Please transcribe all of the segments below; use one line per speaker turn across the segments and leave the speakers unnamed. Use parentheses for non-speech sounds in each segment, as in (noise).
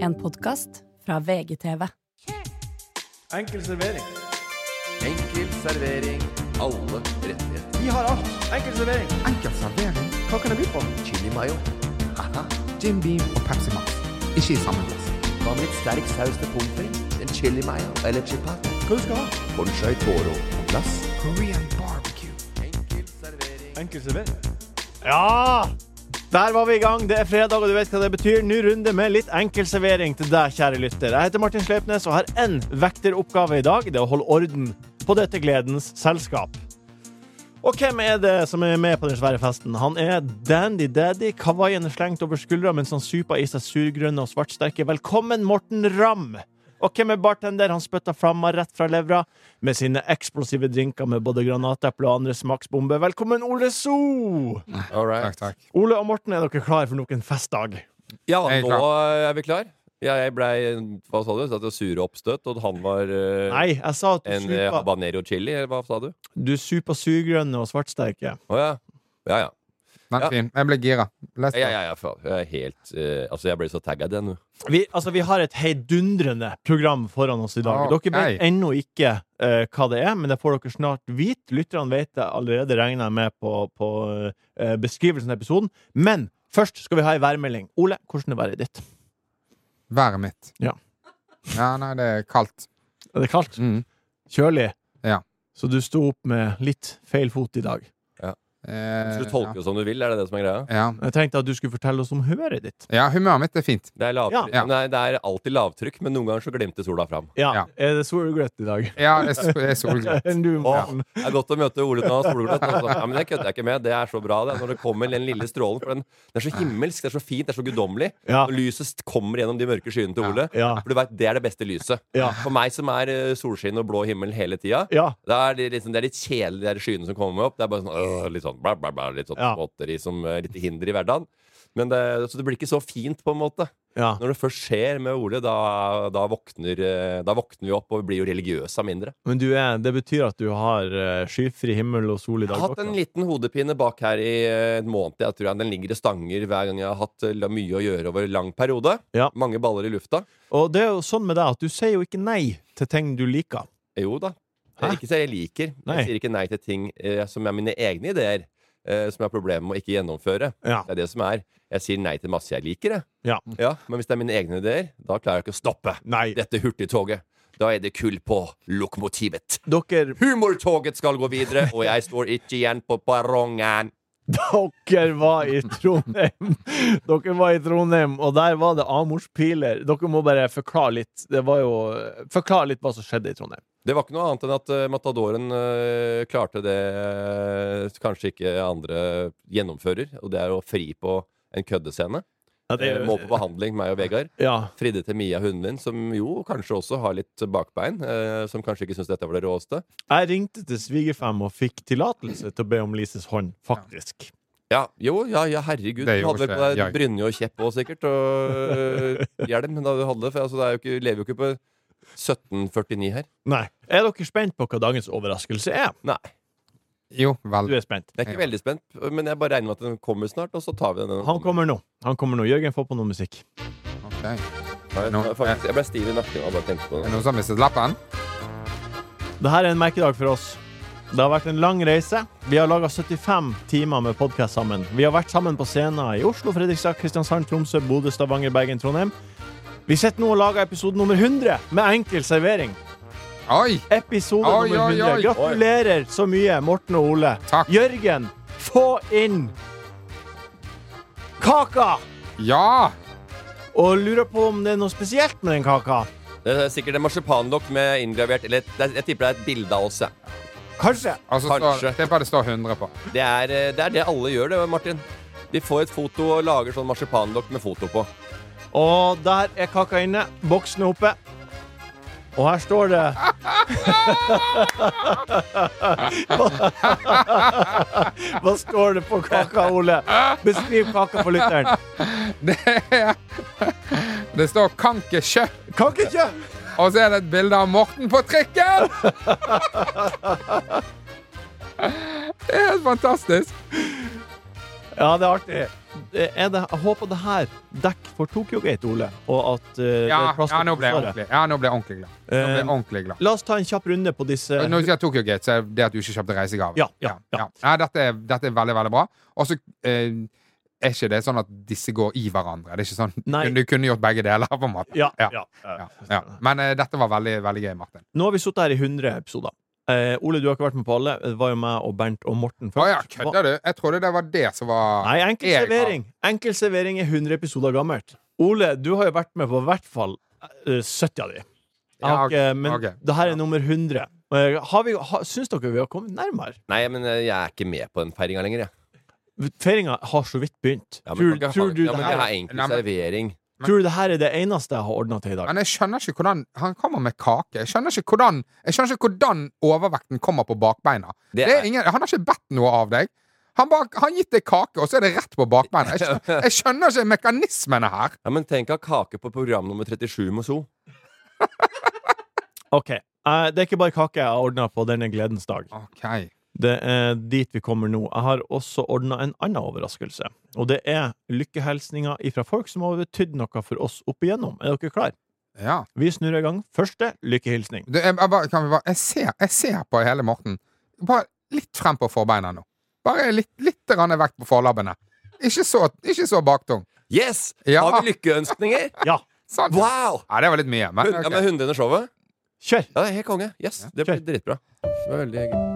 En podkast fra VGTV.
Enkel servering.
Enkel servering. Alle rettigheter.
Vi har alt. Enkel servering.
Enkel servering,
Hva kan jeg by på?
Chili mayo. Haha.
Jim Beam og Pepsi Max. Ikke i samme glass.
Hva med litt sterk saus til pommes frites? En chili mayo eller chipat?
Hva du skal ha?
Bonchai toro på glass.
Korean barbecue.
Enkel servering.
Enkel servering. Ja! Der var vi i gang. Det er fredag, og du vet hva det betyr. Ny runde med litt enkel servering til deg, kjære lytter. Jeg heter Martin Sleipnes og har én vekteroppgave i dag. Det er å holde orden på dette gledens selskap. Og hvem er det som er med på den svære festen? Han er Dandy Daddy, kavaien er slengt over skuldra mens han super i seg surgrønne og svartsterke. Velkommen, Morten Ramm! Og hvem er bartender? Han spytter flamma rett fra levra med sine eksplosive drinker med både granateple og andre smaksbomber. Velkommen, Ole So!
All right. Eh,
Takk, takk.
Ole og Morten, er dere klar for nok en festdag?
Ja,
Jeg er
nå er vi klar. Ja, jeg blei Hva sa du? Satt og sure oppstøt, og han var eh,
Nei, jeg sa at
en
du
eh,
super,
habanero chili, eller hva sa du?
du super surgrønne og svartsterke.
Å ja. Ja, ja.
Den
Ja.
er fin. Jeg ble gira. Les
ja, ja, ja faen. Jeg er helt eh, Altså, jeg ble så tagga i det nå.
Vi, altså, vi har et heidundrende program foran oss i dag.
Ok.
Dere vet ennå ikke eh, hva det er, men det får dere snart vite. Lytterne vet det allerede, regner jeg med, på, på eh, beskrivelsen av episoden. Men først skal vi ha ei værmelding. Ole, hvordan er været ditt?
Været mitt.
Ja.
Ja, nei, det er kaldt.
Er det kaldt?
Mm.
Kjølig?
Ja.
Så du sto opp med litt feil fot i dag.
Eh,
Så du tolker det som du vil, er det det som er greia?
ja.
Jeg tenkte at du skulle fortelle oss om humøret ditt.
ja, humøret mitt er fint.
Det er, lavtrykk.
Ja.
Nei, det er alltid lavtrykk, men noen ganger så glimter sola fram.
Ja,
Ja.
Er det solgløtt i dag?
Ja, jeg s- jeg
(laughs)
er solglad.
Enn du, Morten.
Det er godt å møte Ole nå. Solgløtt. altså. Ja, men det kødder jeg ikke med. Det er så bra, det. Når det kommer den lille strålen. For den, den er så himmelsk, det er så fint, det er så guddommelig.
Ja.
Når lyset st- kommer gjennom de mørke skyene til Ole.
Ja.
For du vet, det er det beste lyset.
Ja.
For meg som er eh, solskinn og blå himmel hele tida,
Ja.
det, er det liksom, det er litt kjedelig, de der skyene som kommer opp. Det er bare sånn, øh, litt sånn, bla, bla, bla, litt sånn
Ja.
småtteri som eh, litt hinder i hverdagen. Men det, så det blir ikke så fint, på en måte.
ja.
Når det først skjer med Ole, da, da, våkner, eh, da våkner vi opp og vi blir jo religiøse av mindre.
Men du er, det betyr at du har eh, skyfri himmel og sol i
Jeg
dag
har hatt
også?
en liten hodepine bak her i eh, en måned. Jeg tror jeg. Den ligger i stanger hver gang jeg har hatt eh, mye å gjøre over en lang periode.
Ja.
Mange baller i lufta.
Og det er jo sånn med deg at du sier jo ikke nei til ting du liker.
Eh, Jo da.
Hæ?
Jeg ikke sier jeg liker.
Nei.
Jeg sier ikke nei til ting eh, som er mine egne ideer, eh, som er problemet med å ikke gjennomføre.
Ja.
Det er det som er. Jeg sier nei til masse jeg liker, jeg.
Ja.
men hvis det er mine egne ideer, da klarer jeg ikke å stoppe
Nei.
dette hurtigtoget. Da er det kull på lokomotivet.
Dere,
Humortoget skal gå videre, og jeg står ikke igjen på perrongen.
dere var i Trondheim. Dere var i Trondheim, og der var det Amors piler. Dere må bare forklare litt Det var jo Forklare litt hva som skjedde i Trondheim.
Det var ikke noe annet enn at eh, Matadoren eh, klarte det eh, kanskje ikke andre gjennomfører, og det er å fri på en køddescene.
Ja, det,
Eh, må på behandling, meg og Vegard.
ja.
Fridde til Mia, hunden min, som jo kanskje også har litt bakbein. Eh, som kanskje ikke syns dette var det råeste.
Jeg ringte til svigerfem og fikk tillatelse til å be om Lises hånd, faktisk.
Ja, jo, ja, ja herregud.
Det
Du hadde
gjorde
vel på
ikke jeg.
deg brynje og kjepp òg, sikkert. Og
(laughs)
eh, hjelm. Da du hadde det, for altså, det er jo ikke, lever jo ikke på 1749 her.
Nei. Er dere spent på hva dagens overraskelse er?
Nei.
Jo,
Du
vel.
er spent.
Jeg er ikke veldig spent, men jeg bare regner med at den kommer snart, og så tar vi den. når den
Han kommer nå. Han kommer nå. Jørgen, få på noe musikk.
Ok.
Nei,
Nå-
jeg- faktisk, jeg ble stiv i nakken av å bare tenke på
Er det
det.
noen som har mistet lappen?
Dette er en merkedag for oss. Det har vært en lang reise. Vi har laga 75 timer med podkast sammen. Vi har vært sammen på scener i Oslo, Fredrikstad, Kristiansand, Tromsø, Bodø, Stavanger, Bergen, Trondheim. Vi sitter nå og lager episode nummer 100 med enkel servering.
Oi!
Episode
Oi,
nummer
oi,
100.
oi.
Gratulerer så mye, Morten og Ole.
Takk.
Jørgen, få inn kaka!
Ja!
Og lurer på om det er noe spesielt med den kaka.
Det er sikkert en marsipanlokk med inngravert Eller det er- jeg tipper det er et bilde av oss. ja.
Kanskje.
Altså, står,
Kanskje.
det er bare det står 100 på.
Det er, eh, det er det alle gjør, det, Martin. De får et foto og lager sånn marsipanlokk med foto på.
Og der er kaka inne. Boksen er oppe. Og her står det (laughs) Hva står det på kaka, Ole? Beskriv kaka for lytteren.
(laughs) Det, er- det står Kanke Kjø,
Kakekjø!
og så er det et bilde av Morten på
(laughs)
trikken! Det er helt fantastisk.
Ja, det er artig. Er det, jeg håper det her dekker for Tokyo Gate, Ole. Og at eh,
Ja,
det er plass
ja,
til
nå ble jeg
forsvaret.
ordentlig, ja, nå ble jeg ordentlig glad. Nå ble jeg
Eh,
ordentlig glad.
La oss ta en kjapp runde på disse
Når du sier Tokyo Gate, så er det at du ikke kjøpte reisegave.
Ja, ja, ja.
Nei, dette, er, dette er veldig, veldig bra. Og så eh, er ikke det sånn at disse går i hverandre. Det er ikke sånn,
Nei.
Du kunne gjort begge deler, på en måte.
Ja,
Ja.
ja.
Ja, ja. Men eh, dette var veldig, veldig gøy, Martin.
Nå har vi sittet her i 100 episoder. Eh, Ole, du har ikke vært med på alle. Det var jo meg og Bernt og Morten
Å
først.
ja, kødder du? Jeg trodde det var det som var
Nei, enkel
Jeg-
servering. Enkel servering er 100 episoder gammelt. Ole, du har jo vært med på i hvert fall eh, 70 av de. Jeg
Ja,
har
ok,
ikke- men
ok.
det her er nummer 100. Eh, Har vi, har, syns dere vi har kommet nærmere?
Nei, men eh, jeg er ikke med på den feiringa lenger, jeg.
Feiringa har så vidt begynt.
Ja, men kan
tror,
ikke
tror,
ha-
du
ja,
det
men
her,
jeg har enkel
Nei, men-
servering.
tror du det her er det eneste jeg har ordna til i dag?
Men jeg skjønner ikke hvordan Han kommer med kake. Jeg skjønner ikke hvordan, jeg skjønner ikke hvordan overvekten kommer på bakbeina.
Det
Det er
er-
ingen, han har ikke bedt noe av deg. Han bare- han har gitt deg kake, og så er det rett på bakbeina. Jeg, skjønner-
(laughs)
jeg skjønner ikke mekanismene her.
Ja, Men tenk å ha kake på program nummer 37 med So.
Ok, eh, Det er ikke bare kake jeg har ordna på denne gledens dag.
Ok
Det er dit vi kommer nå. Jeg har også ordna en annen overraskelse. Og det er lykkehilsninger ifra folk som har betydd noe for oss opp igjennom. Er dere klare?
Ja.
Vi snurrer i gang. Første lykkehilsning.
Du, jeg, jeg, bare- kan vi bare, jeg, ser, jeg ser på hele Morten. Bare litt frem på forbeina nå. Bare litt, litt grann vekk på forlabbene. Ikke så, ikke så baktung.
Yes!
Ja.
Har vi lykkeønskninger?
(laughs) Ja,
Sånn.
Wow!
Ja, det var litt mye, men
Hun, ja,
ok.
men hundene i showet?
kjør!
Ja, det er helt konge. Yes, Det blir
Kjør.
dritbra. Det var veldig gøy.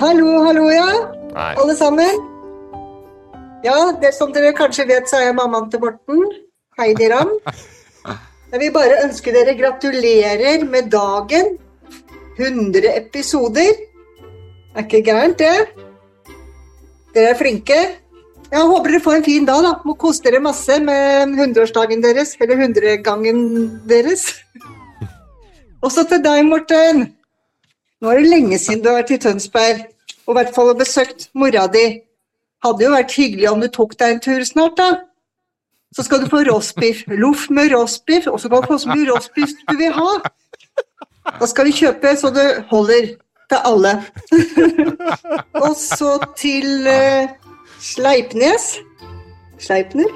Hallo, hallo, ja.
Nei.
Alle sammen. Ja, det som dere kanskje vet, så er jeg mammaen til Morten. Heidi Ramm. Jeg vil bare ønske dere gratulerer med dagen. 100 episoder. Er ikke gærent, det? Dere er flinke. Jeg håper dere får en fin dag, da. Må kose dere masse med 100-årsdagen deres. Eller 100-gangen deres. Også til deg, Morten. Nå er det lenge siden du har vært i Tønsberg, og i hvert fall har besøkt mora di. Hadde jo vært hyggelig om du tok deg en tur snart, da. Så skal du få roastbiff. Loff med roastbiff, og så kan du få så mye roastbiff du vil ha. Da skal vi kjøpe så det holder til alle. (laughs) og så til eh, Sleipnes. Sleipner?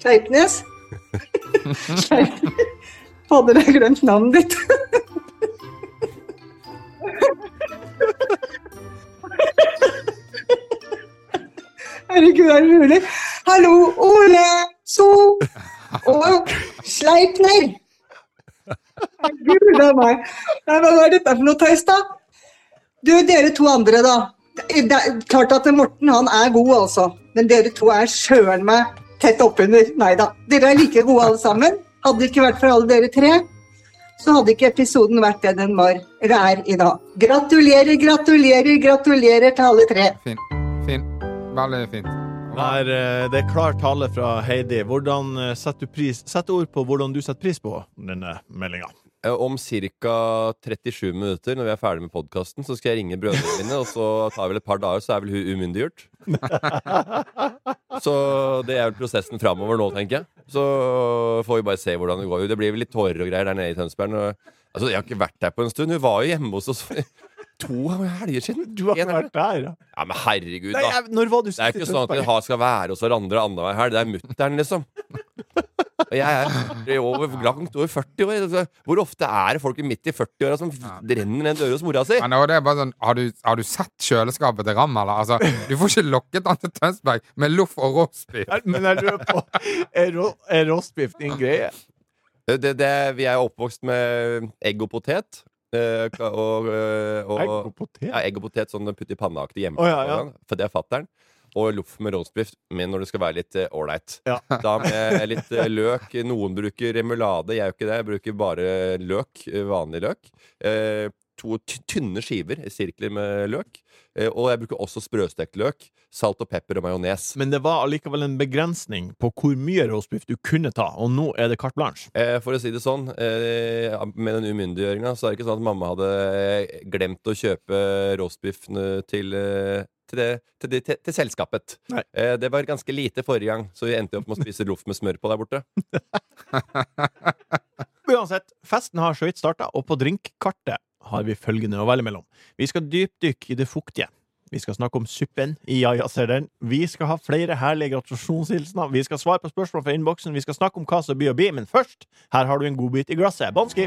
Sleipnes? (laughs) Sleipner. Fader, jeg har glemt navnet ditt. Herregud, er det mulig? Hallo, Ole So og Sleipner. Herregud, det er meg. Nei, hva er dette for noe tøys, da? Du, dere to andre, da. Det er klart at Morten han er god, altså. Men dere to er sjøren meg tett oppunder. Nei da. Dere er like gode alle sammen. Hadde det ikke vært for alle dere tre, så hadde ikke episoden vært det den var, eller er, i dag. Gratulerer, gratulerer, gratulerer til alle tre.
Fint. Fint. Veldig fint.
Der, eh, det er klar tale fra Heidi. Hvordan eh, setter du pris Sett ord på hvordan du setter pris på denne meldinga.
Eh, Om ca. 37 minutter, når vi er ferdig med podkasten, så skal jeg ringe brødrene mine, og så tar det vel et par dager, så er vel hun umyndiggjort. Så det er vel prosessen framover nå, tenker jeg. Så får vi bare se hvordan det går. Det blir vel litt tårer og greier der nede i Tønsberg. når- Altså, jeg har ikke vært der på en stund. Hun var jo hjemme hos oss for to helger siden.
Du har
En
ikke
helg.
vært der? ja.
Ja, men herregud,
Nei,
da.
jeg, når var du
Det er
sist i
ikke sånn at vi
Tønsberg?
har, skal være hos hverandre annenhver helg. Det er mutter'n, liksom. Og jeg er over, langt over 40 år. Altså, Hvor ofte er det folk i midt i 40-åra som renner ned døra hos mora si?
Men og det er bare sånn, har du, har du sett kjøleskapet til Ram, eller? Altså, du får ikke lokket han til Tønsberg med loff og roastbiff.
Jeg- Men jeg lurer på Er, ro, er roastbiff din greie?
Eh, Det, det, vi er oppvokst med egg og potet. eh, ka- Og, eh,
Egg
og,
og potet?
ja, egg og potet sånn putt i panna-aktig hjemme. sånn.
Å, ja, ja.
For det er fatter'n. Og loff med roastbiff, men når det skal være litt eh, ålreit.
Ja.
(laughs) Da med litt eh, løk. Noen bruker remulade, jeg gjør ikke det. Jeg bruker bare løk. eh, Vanlig løk. Eh, to ty- tynne skiver, sirkler med løk. Eh, og jeg bruker også sprøstekt løk. Salt og pepper og majones.
(laughs) Men det var allikevel en begrensning på hvor mye roastbiff du kunne ta, og nå er det carte blanche.
Eh, for å si det sånn, eh, med den umyndiggjøringa, så er det ikke sånn at mamma hadde eh, glemt å kjøpe roastbiffen eh, til, eh, til, det, til, det, til, til selskapet.
Nei.
Eh, det var ganske lite forrige gang, så vi endte jo opp med å spise loff med smør på der borte.
Uansett, festen har så vidt starta, og på drinkkartet har vi følgende å velge mellom. Vi skal dypdykke i det fuktige. Vi skal snakke om suppen i Ja, ja, ser den. Vi skal ha flere herlige gratulasjonshilsener. Vi skal svare på spørsmål fra innboksen. Vi skal snakke om hva som blir å bli. Men først, her har du en godbit i glasset. Banski.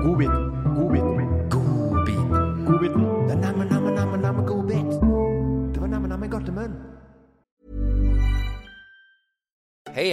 Godbit. Godbit. Godbiten.
Hey,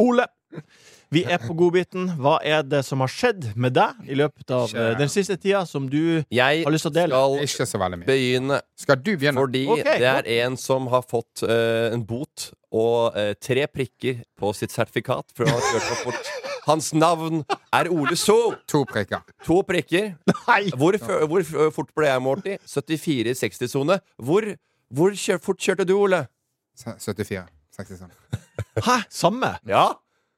Ole, vi er på godbiten. Hva er det som har skjedd med deg i løpet av eh, den siste tida som du
Jeg
Har lyst til å dele?
skal
Ikke så veldig mye.
begynne
Skal du begynne?
fordi
Ok,
det er en som har fått eh, en bot og eh, tre prikker på sitt sertifikat for å ha kjørt for fort. Hans navn er Ole So.
To prikker.
To prikker.
Nei!
Hvor, fø- hvor f- fort ble jeg, Morty? 74-60-sone. Hvor, hvor kjø fort kjørte du, Ole?
(laughs) Se- 74. 60 sånn.
Hæ? Samme?
Ja.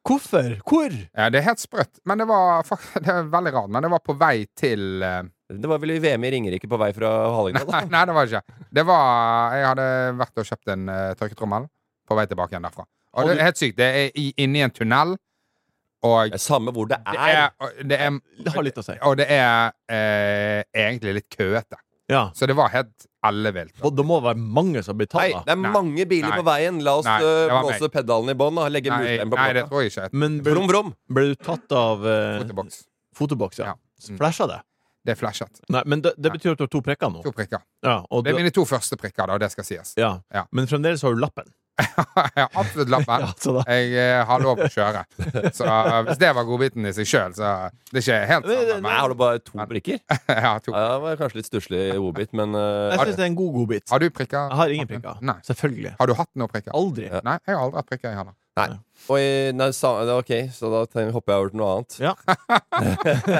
Hvorfor? Hvor?
Ja, det er helt sprøtt. Men det var fak- (laughs) Det er veldig rart. Men det var på vei til eh,
Det var vel i VM i Ringerike på vei fra Hallingdal?
Nei,
da.
(laughs) nei, det var det ikke. Det var Jeg hadde vært og kjøpt en uh, tørketrommel på vei tilbake igjen derfra. Og det er helt sykt. Det er i, inni en tunnel, og
Det er Samme hvor det
det
er.
er, og det er
Det har litt å si.
Og det er eh, egentlig litt køete.
Ja.
Så det var helt ellevilt.
Og det må være mange som
Nei,
betaler.
det er
Nei.
mange biler
Nei.
på veien. La oss
Nei,
eh,
det var meg.
blåse pedalen i bånn og legge
Nei,
mursteinen på
nei, det
plata.
tror jeg ikke.
Men ble,
Vrom, vrom.
ble du tatt av eh,
Foteboks.
fotoboks?
Ja.
Ja.
Mm.
Flasha det?
Det er flashet.
Nei, men det, det betyr at du har to prikker nå.
To prikker.
Ja, og
Det er
du,
mine to første prikker, da. Det skal sies.
ja.
Ja.
Men fremdeles har du lappen.
Jeg har absolutt lappen.
(laughs) Ja, så da.
Jeg eh, har lov å
(laughs)
kjøre. Så eh, hvis det var godbiten i seg sjøl, så Det er ikke helt sammen.
Nei, har du bare to brikker? (laughs) Ja,
Jeg har to.
det var kanskje litt stusslig godbit, men eh,
Jeg syns det er en god godbit.
Har du prikker?
Jeg har ingen prikker.
Nei.
Selvfølgelig.
Har du hatt noen prikker? Eh,
Aldri.
Nei, jeg har aldri hatt prikker, jeg heller.
Nei. Og, eh, nei sa, det er ok, så da tenker- hopper jeg over til noe annet.
Ja.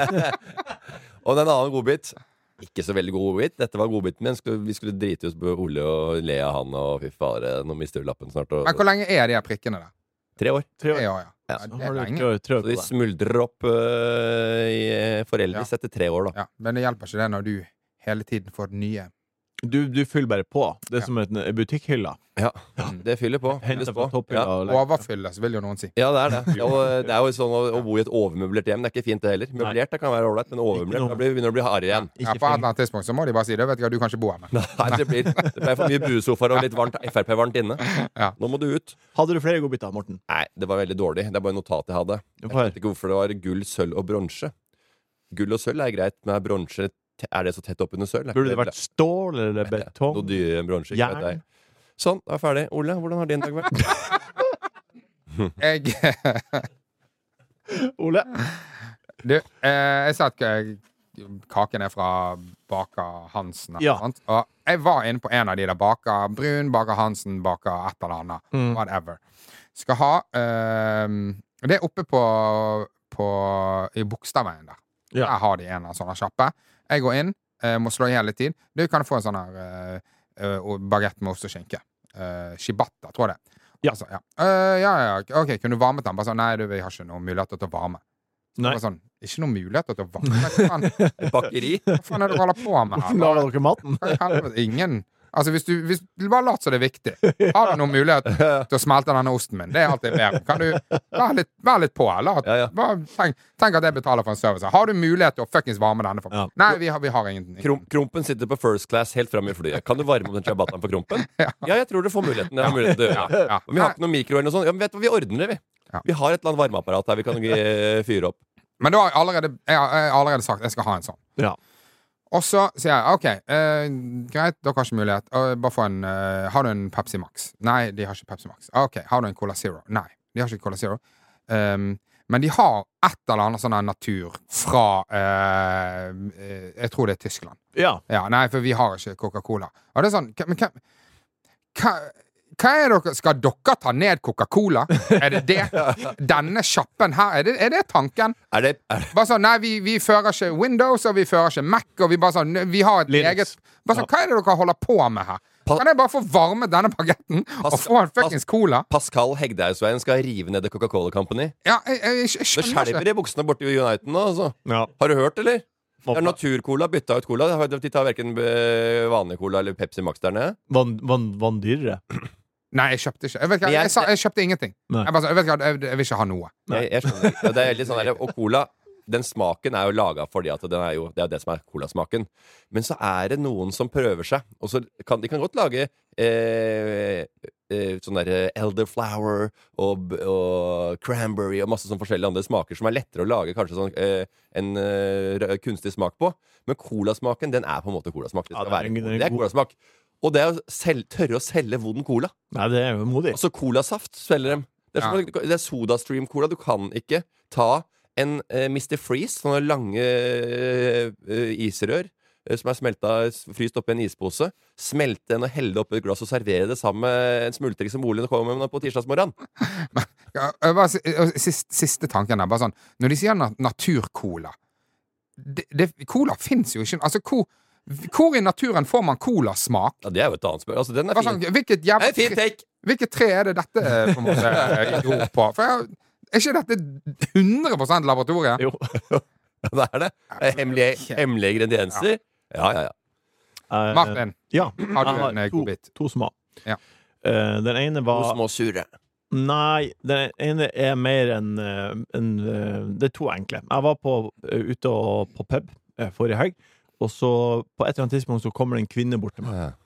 (laughs) og det er en annen godbit. Ikke så veldig god godbit. Dette var godbiten min. Skulle, vi skulle drite oss på Ole og le av han, og fy fader, nå mister vi lappen snart. Og,
Men hvor lenge er de her prikkene der?
tre år.
Tre
Tre
år.
år, ja. ja
Så
det
har
er
du
lenge.
tre år, tre år
Så
på
de
deg.
smuldrer opp eh, i eh, foreldes etter tre år, da.
Ja, men det hjelper ikke det når du hele tiden får nye.
Du, du fyller bare på. Det er som en eh, butikkhylle.
Ja. Det fyller på.
Henter
Fylles
fra
på.
topphylla.
Ja.
og legger-
Overfylles, vil jo noen si.
ja, det er
(laughs)
det. Ja, Og det er jo sånn å, å bo i et overmøblert hjem. Det er ikke fint, det heller. Møblert det kan være ålreit, men
Ikke noe.
overmøblert da blir- begynner det å bli hardere igjen.
Ja,
Ikke
på et
fint.
eller annet tidspunkt så må de bare si det. Vet du hva, du kan ikke bo her mer.
Nei, det blir, det blir for mye buesofaer og litt varmt Frp-varmt inne.
Ja.
Nå må du ut.
Hadde du flere godbiter, Morten?
Nei, det var veldig dårlig. Det er bare notat jeg hadde. Jeg
Hvorfor?
vet ikke hvorfor det var gull, sølv og bronse. Gull og sølv er greit, men er bronse te- Er det så tett oppunder sølv? Er ikke
Burde det vært stål eller betong?
Noe dyrere enn bronse. ikke vet
Jern?
jeg. Sånn, da er jeg ferdig. Ole, hvordan har din dag vært?
(laughs)
(laughs)
Jeg, (laughs)
Ole?
du, eh, jeg sa at eh, kaken er fra Baker Hansen. eller
Ja.
noe sånt. Og jeg var inne på en av de der. Baker Brun, Baker Hansen, Baker et eller annet.
Mm.
Whatever. Skal ha eh, Det er oppe på, på i Bogstadveien der.
Ja.
Der har de en av sånne kjappe. Jeg går inn, eh, må slå i hele tid. Du kan få en sånn her eh, eh, bagett med ost og skinke. Eh, Shibata, tror jeg det. er.
Ja.
Altså, ja. Eh, ja, ja, ja. OK, kunne du varmet den? Bare sånn, nei, du, jeg har ikke noen muligheter til å varme. Så
Nei.
Bare sånn, ikke noen muligheter til å varme? Hva faen,
(laughs) Et Bakeri?
hva faen er det du holder på med
Hvorfor
her?
laga dere maten?
Hva i helvete? Ingen Altså, hvis du hvis, Bare lat som det er viktig. Har du noen mulighet til å smelte denne osten min? Det er alt jeg ber om. Kan du være litt, vær litt på? La,
Ja, ja.
bare tenk, tenk at jeg betaler for en service. her. Har du mulighet til å fuckings varme denne for meg?
Ja.
Nei, vi har, vi har ingen. ingen.
Krom, krompen sitter på first class helt framme i flyet. Kan du varme opp den ciabattaen for
(laughs)
Krompen? Ja, jeg tror du får muligheten. Jeg har muligheten til å gjøre det.
Ja.
Men vi har ikke noen mikro eller noe sånt. Ja, men vet du hva, vi ordner det, vi.
Ja.
Vi har et eller annet varmeapparat her vi kan eh, fyre opp.
Men da har jeg allerede, jeg har, jeg har allerede sagt jeg skal ha en sånn.
Ja.
Og så sier jeg OK, eh, greit, dere har ikke mulighet. Eh, bare få en eh, Har du en Pepsi Max? Nei, de har ikke Pepsi Max. OK, har du en Cola Zero? Nei, de har ikke Cola Zero. Ehm, men de har et eller annet sånn her natur fra eh, eh, Jeg tror det er Tyskland.
ja.
Ja, nei, for vi har ikke Coca-Cola. Og det er sånn hva- Men hva, hva Hva er dere, Skal dere ta ned Coca-Cola? Er
(laughs)
det det? Denne kjappen her, er det, er det tanken?
Er det, er det
Bare sånn, nei, vi, vi fører ikke Windows, og vi fører ikke Mac, og vi bare sånn, vi har et
Linux.
eget bare sånn, Hva er det dere holder på med her?
Pa- Altså,
Kan jeg bare få varmet denne bagetten og
Pass-
få en fuckings cola?
Pascal Hegdehaugsveien skal rive ned The Coca-Cola Company.
Ja, jeg, jeg, jeg
Det
skjønner
skjelver
ikke.
i buksene borte i Uniten nå, altså.
Ja.
Har du hørt, eller?
Hva-
Det er Naturcola bytta ut cola. De tar verken eh, vanlig cola eller Pepsi Max der nede.
Var den- var den- var den dyrere?
Nei, jeg kjøpte ikke. Jeg, vet ikke,
Men
jeg,
jeg-
sa, jeg kjøpte ingenting.
Nei.
Jeg bare sa, jeg vet ikke, jeg, jeg vil ikke ha noe.
Jeg, jeg skjønner ikke. Og det er litt sånn der, Og cola den smaken er jo laga fordi at den er jo, det er jo det som er colasmaken. Men så er det noen som prøver seg. Og så kan, de kan godt lage eh, eh, sånn derre elderflower og, b- og cranberry og masse sånn forskjellige andre smaker som er lettere å lage kanskje sånn eh, en eh, rø- kunstig smak på. Men colasmaken, den er på en måte colasmak. Det,
Ja,
skal
det er en-
være.
det er en
det er
god-
colasmak. Og det er å selge, tørre å selge vond cola.
Nei, det er jo modig.
Altså colasaft selger dem. Det er, som, det er SodaStream-cola. Du kan ikke ta en eh, Mr. Freeze, sånne lange eh, eh, isrør eh, som er smelta, s- fryst oppi en ispose, smelte den og helle det oppi et glass og servere det sammen med en smultring som Olin kommer med på tirsdagsmorgenen.
Ja, jeg bare, si- og siste, siste tanken der, bare sånn Når de sier na- naturcola det, det, Cola fins jo ikke. Altså, hvor, hvor i naturen får man colasmak?
Ja, det er jo et annet spørsmål. Altså, den er
Bare
fin.
Sånn, hvilket jævla
Det er en fin
tre,
take!
hvilket tre er det dette eh, på en
(laughs)
måte eh, gror på? For jeg, er ikke dette 100 laboratoriet?
(laughs)
Jo.
Det er det. Eh, Hemmelige, hemmelige ingredienser. Ja, ja, ja.
Eh,
Martin,
Ja.
har du
Jeg
en eh,
to,
god bit?
to små.
Ja.
Eh, den ene
To
var
små sure.
Nei, den ene er mer enn en, Det er to enkle. Jeg var på, eh, ute og, på pub eh, forrige helg, og så på et eller annet tidspunkt så kommer det en kvinne bort til meg.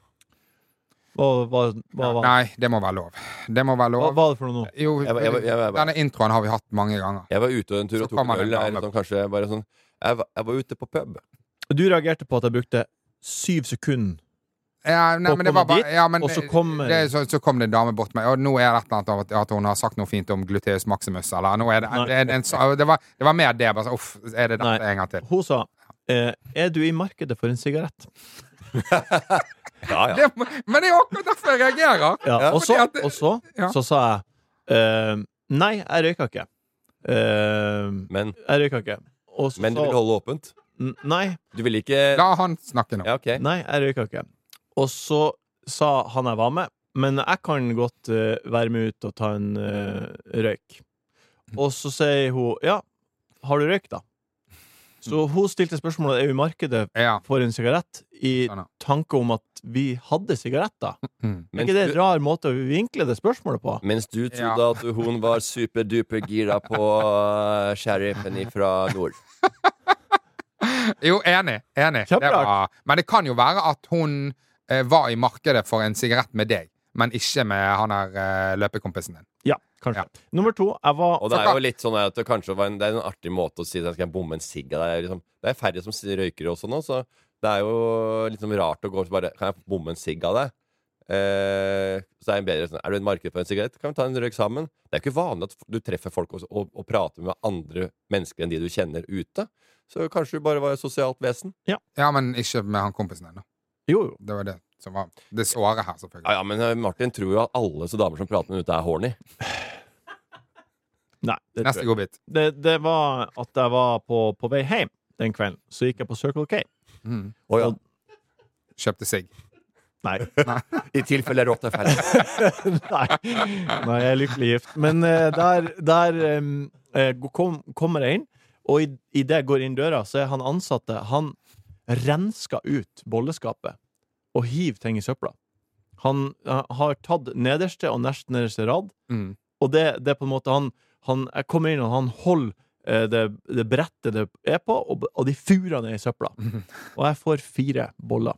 Hva, hva, hva, hva,
Nei, det må være lov. Det må være
hva,
lov.
hva er det for noe nå?
Jo,
Jeg var- jeg var- jeg var-
denne introen har vi hatt mange ganger.
Jeg var ute en tur
Så
og tok
kommer
en
det
øl.
en
eller
dame.
Sånn, kanskje bare sånn jeg var, jeg var ute på pub.
Du reagerte på at jeg brukte syv sekunder.
Ja, nei,
Og
men det
kommer
var bare,
dit,
ja, men,
og så kommer-
det, så, så kom det en dame bort til meg, og nå er det et eller annet av at, at hun har sagt noe fint om gluteus maximus, eller nå er det,
Nei.
det, er en, så- det, var, det var mer det. Bare, så, uff, er det
Nei.
dette en gang til?
Hun sa eh, Er du i markedet for en sigarett?
Ja, ja.
Det, men det er jo akkurat derfor jeg reagerer!
Ja, og så,
fordi at det-
og så,
Ja.
så sa jeg eh, Nei, jeg røyker ikke. Eh,
Men,
jeg røyker ikke. Og så,
men du vil holde åpent?
N- Nei,
Du vil ikke
La han snakke nå.
Ja, ok.
Nei, jeg røyka ikke. Og så sa han jeg var med, men jeg kan godt eh, være med ut og ta en eh, røyk. Og så sier hun ja, har du røyk, da? Så hun stilte spørsmålet er jo i markedet
Ja.
for en sigarett i
Sånn, ja.
tanke om at vi hadde sigaretter. Er
Mm.
Mens
ikke det en
du-
rar måte å vinkle det spørsmålet på?
Mens du trodde
Ja.
at hun var superduper gira på eh, sheriffen fra nord.
Jo, enig. enig. Det
Kjemperart.
var, men det kan jo være at hun eh, var i markedet for en sigarett med deg, men ikke med han her eh, løpekompisen din.
Ja, kanskje. Nummer to, jeg var
Og det er jo litt sånn at det kanskje var en, det er en artig måte å si at jeg skal bomme en sigg av deg. Liksom. Det er færre som s- røyker også nå, så det er jo litt sånn rart å gå og bare Kan jeg bomme en sigg av deg? Eh, så er det en bedre sånn Er du i et marked for en sigarett? Kan vi ta en røyk sammen? Det er ikke vanlig at f- du treffer folk og, og, og prater med andre mennesker enn de du kjenner ute. Så kanskje du bare var et sosialt vesen.
Ja, men ikke med han kompisen din. da.
Jo, jo.
Det var det som var det såret her, selvfølgelig.
Ja, ja, men eh, Martin tror jo at alle så damer som prater med henne ute, er horny.
Nei. Det, tror
Neste
jeg.
godbit.
det, det var at jeg var på, på vei hjem den kvelden. Så gikk jeg på Circle K.
Mm.
Oh, ja.
Og-
Kjøpte sigg.
Nei.
I tilfelle rått er ferdig.
(laughs) Nei. Nei, jeg er lykkelig gift. Men eh, der, der em, eh, kom, kommer jeg inn, og i- idet jeg går inn døra, så er han ansatte Han rensker ut bolleskapet og hiver ting i søpla. Han eh, har tatt nederste og nest nederste rad,
Mm.
og det, det er på en måte han, han Jeg kommer inn, og han holder eh, det, det brettet det er på, og, og de furer ned i
(laughs)
søpla. Og jeg får fire boller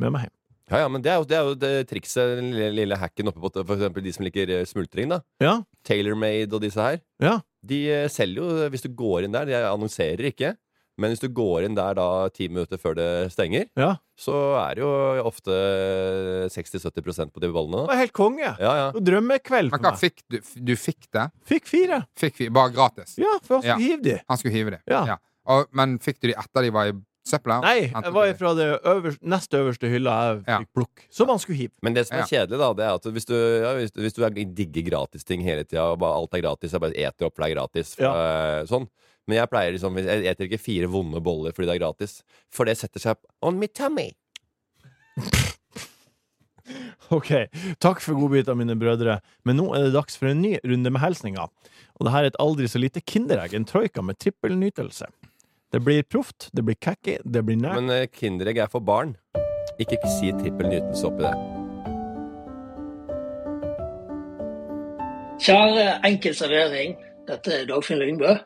med meg hjem.
Ja, ja, men det er jo det, er jo det trikset, den lille, lille hacken oppe på for eksempel de som liker eh, smultring, da.
Ja,
Tailormade og disse her.
Ja.
De eh, selger jo, eh, hvis du går inn der, de annonserer ikke, men hvis du går inn der da ti minutter før det stenger,
ja.
så er det jo ofte 60-70 på de bollene.
Det
da.
var helt konge.
Ja, ja.
Og Drømmekveld
Men
for
hva
meg.
fikk du? Du fikk det?
Fikk fire.
Fikk vi bare gratis?
Ja, for han
Ja.
skulle hive de.
Han skulle hive det.
Ja.
Og, men fikk du de etter de var i Søpla.
Nei,
hentet
jeg var
det.
fra det øverste, nest øverste hylla jeg
Ja.
fikk plukke. Som man skulle hive.
Men det som er kjedelig, da, det er at hvis du, ja, hvis, hvis du er- digger gratisting hele tida, og bare alt er gratis, og bare eter opp, for det er gratis, eh, sånn. Men jeg pleier liksom Jeg eter ikke fire vonde boller fordi det er gratis, for det setter seg on my tummy.
Ok, takk for godbiter, mine brødre. Men nå er det dags for en ny runde med hilsninger. Og det her er et aldri så lite kinderegg, en troika med trippel nytelse. Det blir proft, det blir cacky, det blir nært.
Men eh, Kinderegg er for barn. Ikke si trippel nytelse oppi det.
Kjære Enkel servering, dette er Dagfinn Lyngbø.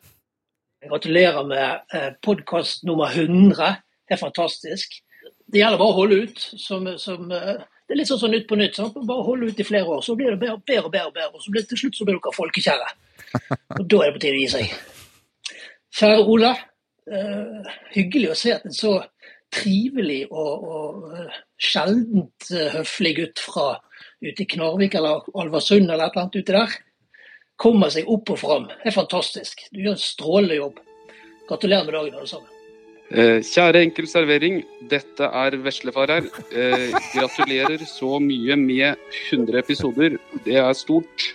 Gratulerer med podkast nummer 100. Det er fantastisk. Det gjelder bare å holde ut. Som, som, eh, det er litt sånn som Nytt på nytt. Sant? Bare holde ut i flere år, så blir det bedre, bedre og bedre. og bedre. Og så blir, til slutt så blir dere folkekjære. Og da er det på tide å gi seg. Kjære Ole. eh, hyggelig å se at en så trivelig og, og eh, sjeldent eh, høflig gutt fra ute i Knarvik eller Alversund eller et eller annet ute der, kommer seg opp og fram. Det er fantastisk. Du gjør en strålende jobb. Gratulerer med dagen, alle sammen.
Eh, Kjære Enkel Servering, dette er Veslefar her. Eh, gratulerer så mye med 100 episoder. Det er stort.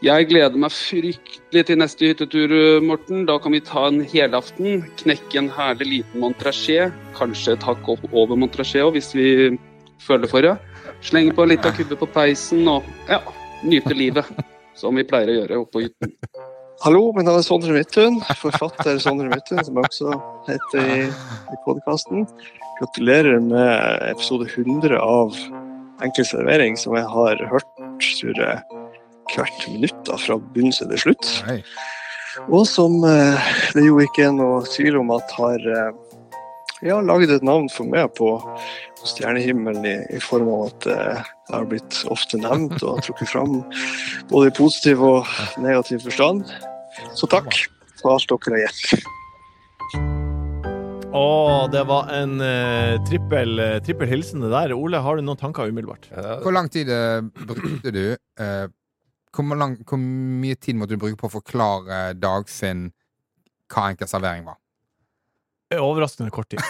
Jeg gleder meg fryktelig til neste hyttetur, eh, Morten. Da kan vi ta en helaften, knekke en herlig liten montrachet. Kanskje et hakk opp over montrachet òg, hvis vi føler for det. Slenge på litt av kubbe på peisen og ja, nyte livet. Som vi pleier å gjøre oppe på hytta.
Hallo, mitt navn er Sondre Midthun, forfatter Sondre Midthun, som jeg også heter i, i podkasten. Gratulerer med episode 100 av Enkel servering, som jeg har hørt tror jeg, hvert minutt da, fra begynnelse til slutt.
Nei.
Og som eh, det jo ikke er noe tvil om at har eh, ja, laget et navn for meg på, på stjernehimmelen i, i form av at eh, jeg har blitt ofte nevnt og trukket fram både i positiv og negativ forstand. Så takk for alt dere har gjort.
Å, det var en eh, trippel, eh, trippel hilsen det der. Ole, har du noen tanker umiddelbart?
Ja,
Hvor lang tid eh, brukte du eh, hvor, lang, hvor mye tid måtte du bruke på å forklare Dagfinn hva enkel servering var?
Overraskende kort tid. (laughs) (laughs)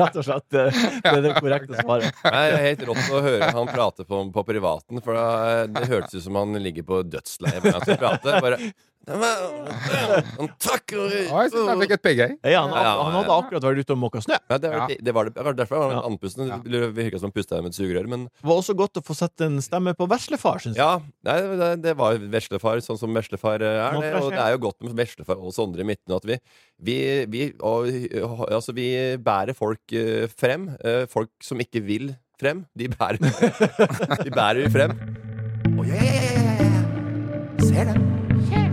Rett og slett. Det det er det korrekte svaret.
Nei, det er helt rått å høre han prate på, på privaten, for da, eh, det hørtes ut som han ligger på dødsleiet mens han prater. Bare Han takker
Å, jeg synes jeg fikk et pigg, jeg.
Ja, han,
Ja,
han hadde akkurat vært ute og måka snø.
ja, det, var,
Ja.
det var det kanskje derfor han
Ja.
var andpusten. Det virka som han pusta med et sugerør. Men
Det var også godt å få sett en stemme på veslefar, syns jeg.
ja, nei, det, det var jo veslefar, sånn som veslefar eh, er. Det, og det er jo godt med veslefar og Sondre Midten at vi, vi, vi, og, og- altså, vi bærer folk eh, frem. Eh, folk som ikke vil frem, de bærer (laughs) De bærer vi frem.
Oh, yeah, yeah, yeah, yeah, yeah. Ser den.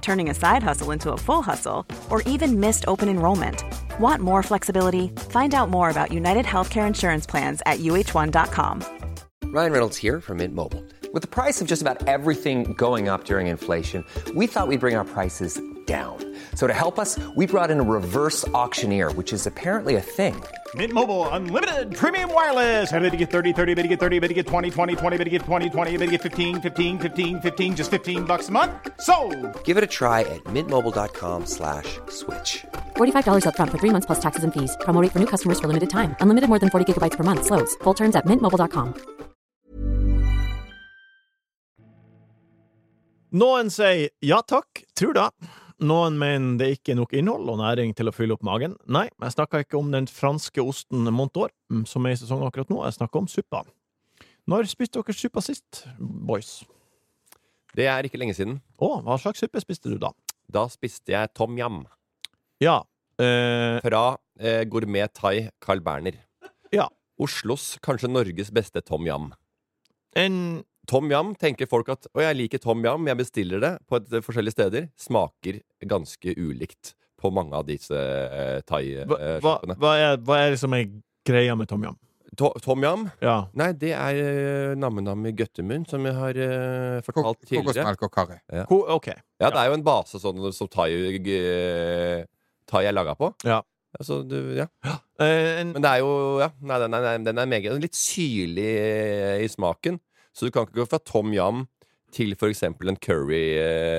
turning a side hustle into a full hustle, or even missed open enrollment. Want more flexibility? Find out more about United Healthcare Insurance Plans at uh1.com.
Ryan Reynolds here from Mint Mobile. With the price of just about everything going up during inflation, we thought we'd bring our prices down. So to help us, we brought in a reverse auctioneer, which is apparently a thing.
Mint Mobile unlimited premium wireless. Ready to get 30, 30, bet you get 30, bet you get 20, 20, 20, bet you get 20, 20, bet you get 15, 15, 15, 15 just 15 bucks a month. So,
Give it a try at mintmobile.com slash switch.
$45 upfront for three months plus taxes and fees. Promo rate for new customers for limited time. Unlimited more than 40 gigabytes per month. Slows. Full terms at mintmobile.com.
Noen sier ja takk, tror da. Noen mener det ikke er nok innhold og næring til å fylle opp magen. Nei, jeg snakker ikke om den franske osten Montour, mm, som er i sesong akkurat nå. Jeg snakker om suppa. Når spiste dere suppa sist, boys?
Det er ikke lenge siden.
Å, hva slags suppe spiste du da?
Da spiste jeg tom yam
Ja, eh,
fra eh, gourmet thai Carl Berner.
Ja.
Oslos, kanskje Norges beste tom yam.
en
Tom yam tenker folk at eh, Å, jeg liker tom yam, jeg bestiller det på et, forskjellige steder. Smaker ganske ulikt på mange av disse eh,
Hva,
thai-sjappene.
hva, er, hva er liksom ei greia med Tom Yam?
To- Tom Yam?
Ja.
Nei, det er eh, namme-nam i Gøttemund, som jeg har eh, fortalt tidligere.
kokosmelk og karri.
Ja.
Ko- ok.
ja, det er jo en base sånn som thai, eh, thai er laga på.
Ja.
Altså, du, ja.
eh,
Men det er jo ja, nei, den, er, den er meget Litt syrlig eh, i smaken. Så du kan ikke gå fra tom yam til for eksempel en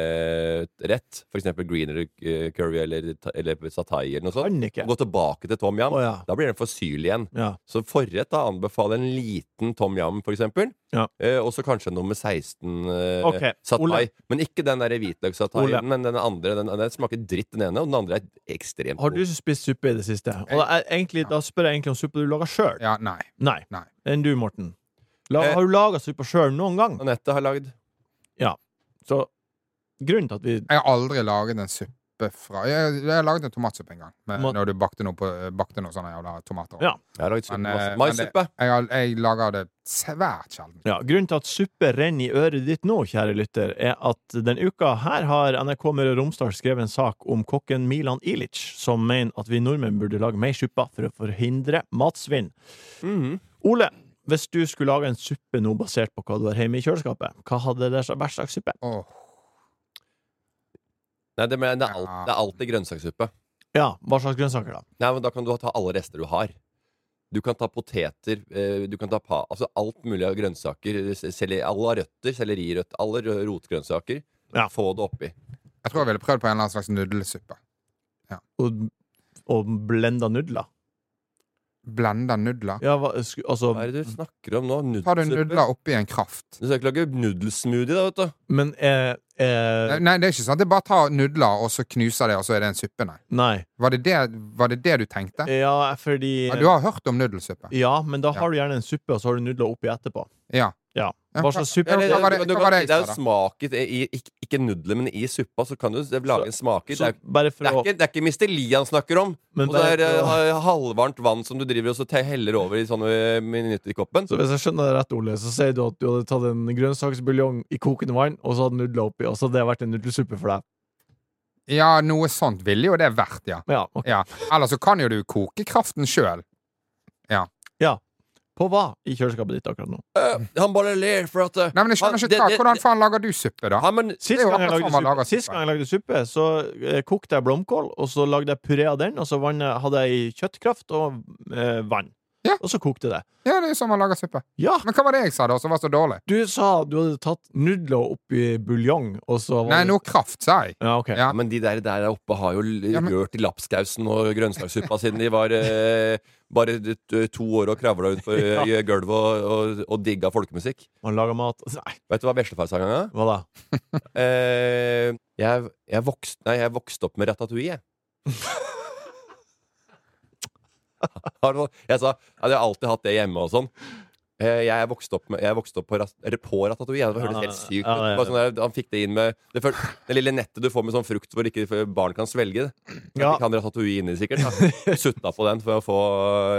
curryrett. For eksempel greener eh, curry eller, ta- eller satai eller noe
Kan
sånt.
ikke.
Gå tilbake til tom yam.
Å, ja.
Da blir den for syrlig igjen.
Ja.
Så forrett da anbefaler en liten tom yam, for eksempel.
Ja.
Eh, og så kanskje nummer 16 eh,
Ok,
satai.
Ole.
Men ikke den der
Ole.
hvitløksataien, men den andre. Den, den smaker dritt, den ene, og den andre er ekstremt
Har du spist suppe i det siste? Og da, er, egentlig, da spør jeg egentlig om suppe du lager sjøl.
Ja, nei.
Nei.
Nei.
Enn du, Morten. La,
Eh.
har du laga suppe sjøl noen gang?
Anette har lagd.
Ja. Så grunnen til at vi
Jeg har aldri laget en suppe fra Jeg, jeg har laget en tomatsuppe en gang, med,
Ma-
når du bakte noe, på, eh, bakte noe sånne jævla tomater.
Ja.
Jeg har lagd suppe.
Men, eh,
masse.
men det-
Maissuppe.
Jeg, har- jeg lager det svært sjelden.
Ja, Grunnen til at suppe renner i øret ditt nå, kjære lytter, er at den uka her har NRK Møre og Romsdal skrevet en sak om kokken Milan Ilic, som mener at vi nordmenn burde lage mer suppe for å forhindre matsvinn.
Mhm.
Ole, hvis du skulle lage en suppe nå basert på hva du har hjemme i kjøleskapet, hva hadde det vært slags suppe?
Åh.
Nei, det, men det, er alt, det er alltid grønnsakssuppe.
Ja, hva slags grønnsaker da?
Nei, men Da kan du ta alle rester du har. Du kan ta poteter, eh, du kan ta pa, altså alt mulig av grønnsaker. se- Selleri, alle har røtter, sellerirøtter, alle rø- rotgrønnsaker.
Ja.
Få det oppi.
Jeg tror jeg ville prøvd på en eller annen slags nudelsuppe.
Og, og blenda nudler?
Blenda nudler.
Ja, hva, sku, altså
Hva er det du snakker om nå?
Tar du
Nudelsuppe?
nudler oppi en kraft?
Du skal ikke lage nudelsmoothie, da, vet du.
Men eh, eh,
Nei, det er ikke sant. Det er bare ta nudler, og så knuser det, og så er det en suppe, nei.
Nei. Eh,
Var det det, var det, det du tenkte?
Ja, fordi
Ja, du har hørt om nudelsuppe?
Ja, men da har du gjerne en suppe, og så har du nudler oppi etterpå.
Ja.
Ja.
Ja,
Hva slags
Ja,
suppe?
det,
hva var det-
du, du,
hva var
kan,
det jeg
det er
sa
jo smaket i, i, ikke- Ikke nudler, men i suppa, så kan du s- lage en smaker. Det
Så
er,
bare
det,
for
er
å
ikke, det er ikke Mr. Lee han snakker om.
Men
og det
bare
er eh,
for å-
ha- halvvarmt vann som du driver og så te- heller over i sånne minutter i koppen.
Så hvis jeg skjønner det rett, Ole, så sier du at du hadde tatt en grønnsaksbuljong i kokende vann, og så hadde nudler oppi, og så hadde det vært en nudelsuppe for deg.
Ja, noe sånt ville jo det vært, ja.
Ja, ok.
ja. Eller så kan jo du koke kraften sjøl.
På hva i kjøleskapet ditt akkurat nå?
Eh, Han bare ler for at eh,
Nei, men jeg skjønner
han-
ikke hva.
det- det-
Hvordan faen lager du suppe, da?
Ja, men
Sist
Det er jo
gang, jeg
akkurat
lagde
som
suppe,
man lager
sist
suppe.
gang jeg lagde suppe, så eh, kokte jeg blomkål, og så lagde jeg puré av den, og så vann, eh, hadde jeg kjøttkraft og eh, vann.
Ja.
Og så kokte det.
Ja, det er sånn man lager suppe.
Ja!
Men hva var det jeg sa da, som var så dårlig?
Du sa du hadde tatt nudler oppi buljong, og så var
Nei,
det-
noe kraft, sa jeg.
Ja, ok.
Ja.
Ja, men de der, der oppe har jo l-
Ja, men-
rørt i lapskausen og grønnsakssuppa siden de var eh, bare d- t- to år og kravla rundt på
(laughs)
eh, i gulvet og, og, og digga folkemusikk.
Man lager mat Nei,
Vet du hva veslefar sang en gang?
hva da?
(laughs) Eh, jeg, jeg, vokste, nei, jeg vokste opp med
(laughs)
ratatouille, jeg. Har du noe- jeg sa at jeg har alltid hatt det hjemme og sånn. Eh, Jeg vokste opp, med, jeg vokste opp på, ras- eller på ratatouille. Det
Ja,
hørtes helt
ja,
sykt ut.
ja, ja, ja.
Bare Sånn der, han fikk det inn med det, føl- det lille nettet du får med sånn frukt hvor ikke barn kan svelge det. Ja.
Ja.
Fikk han ratatouille inni, sikkert. da.
(laughs)
Sutta på den for å få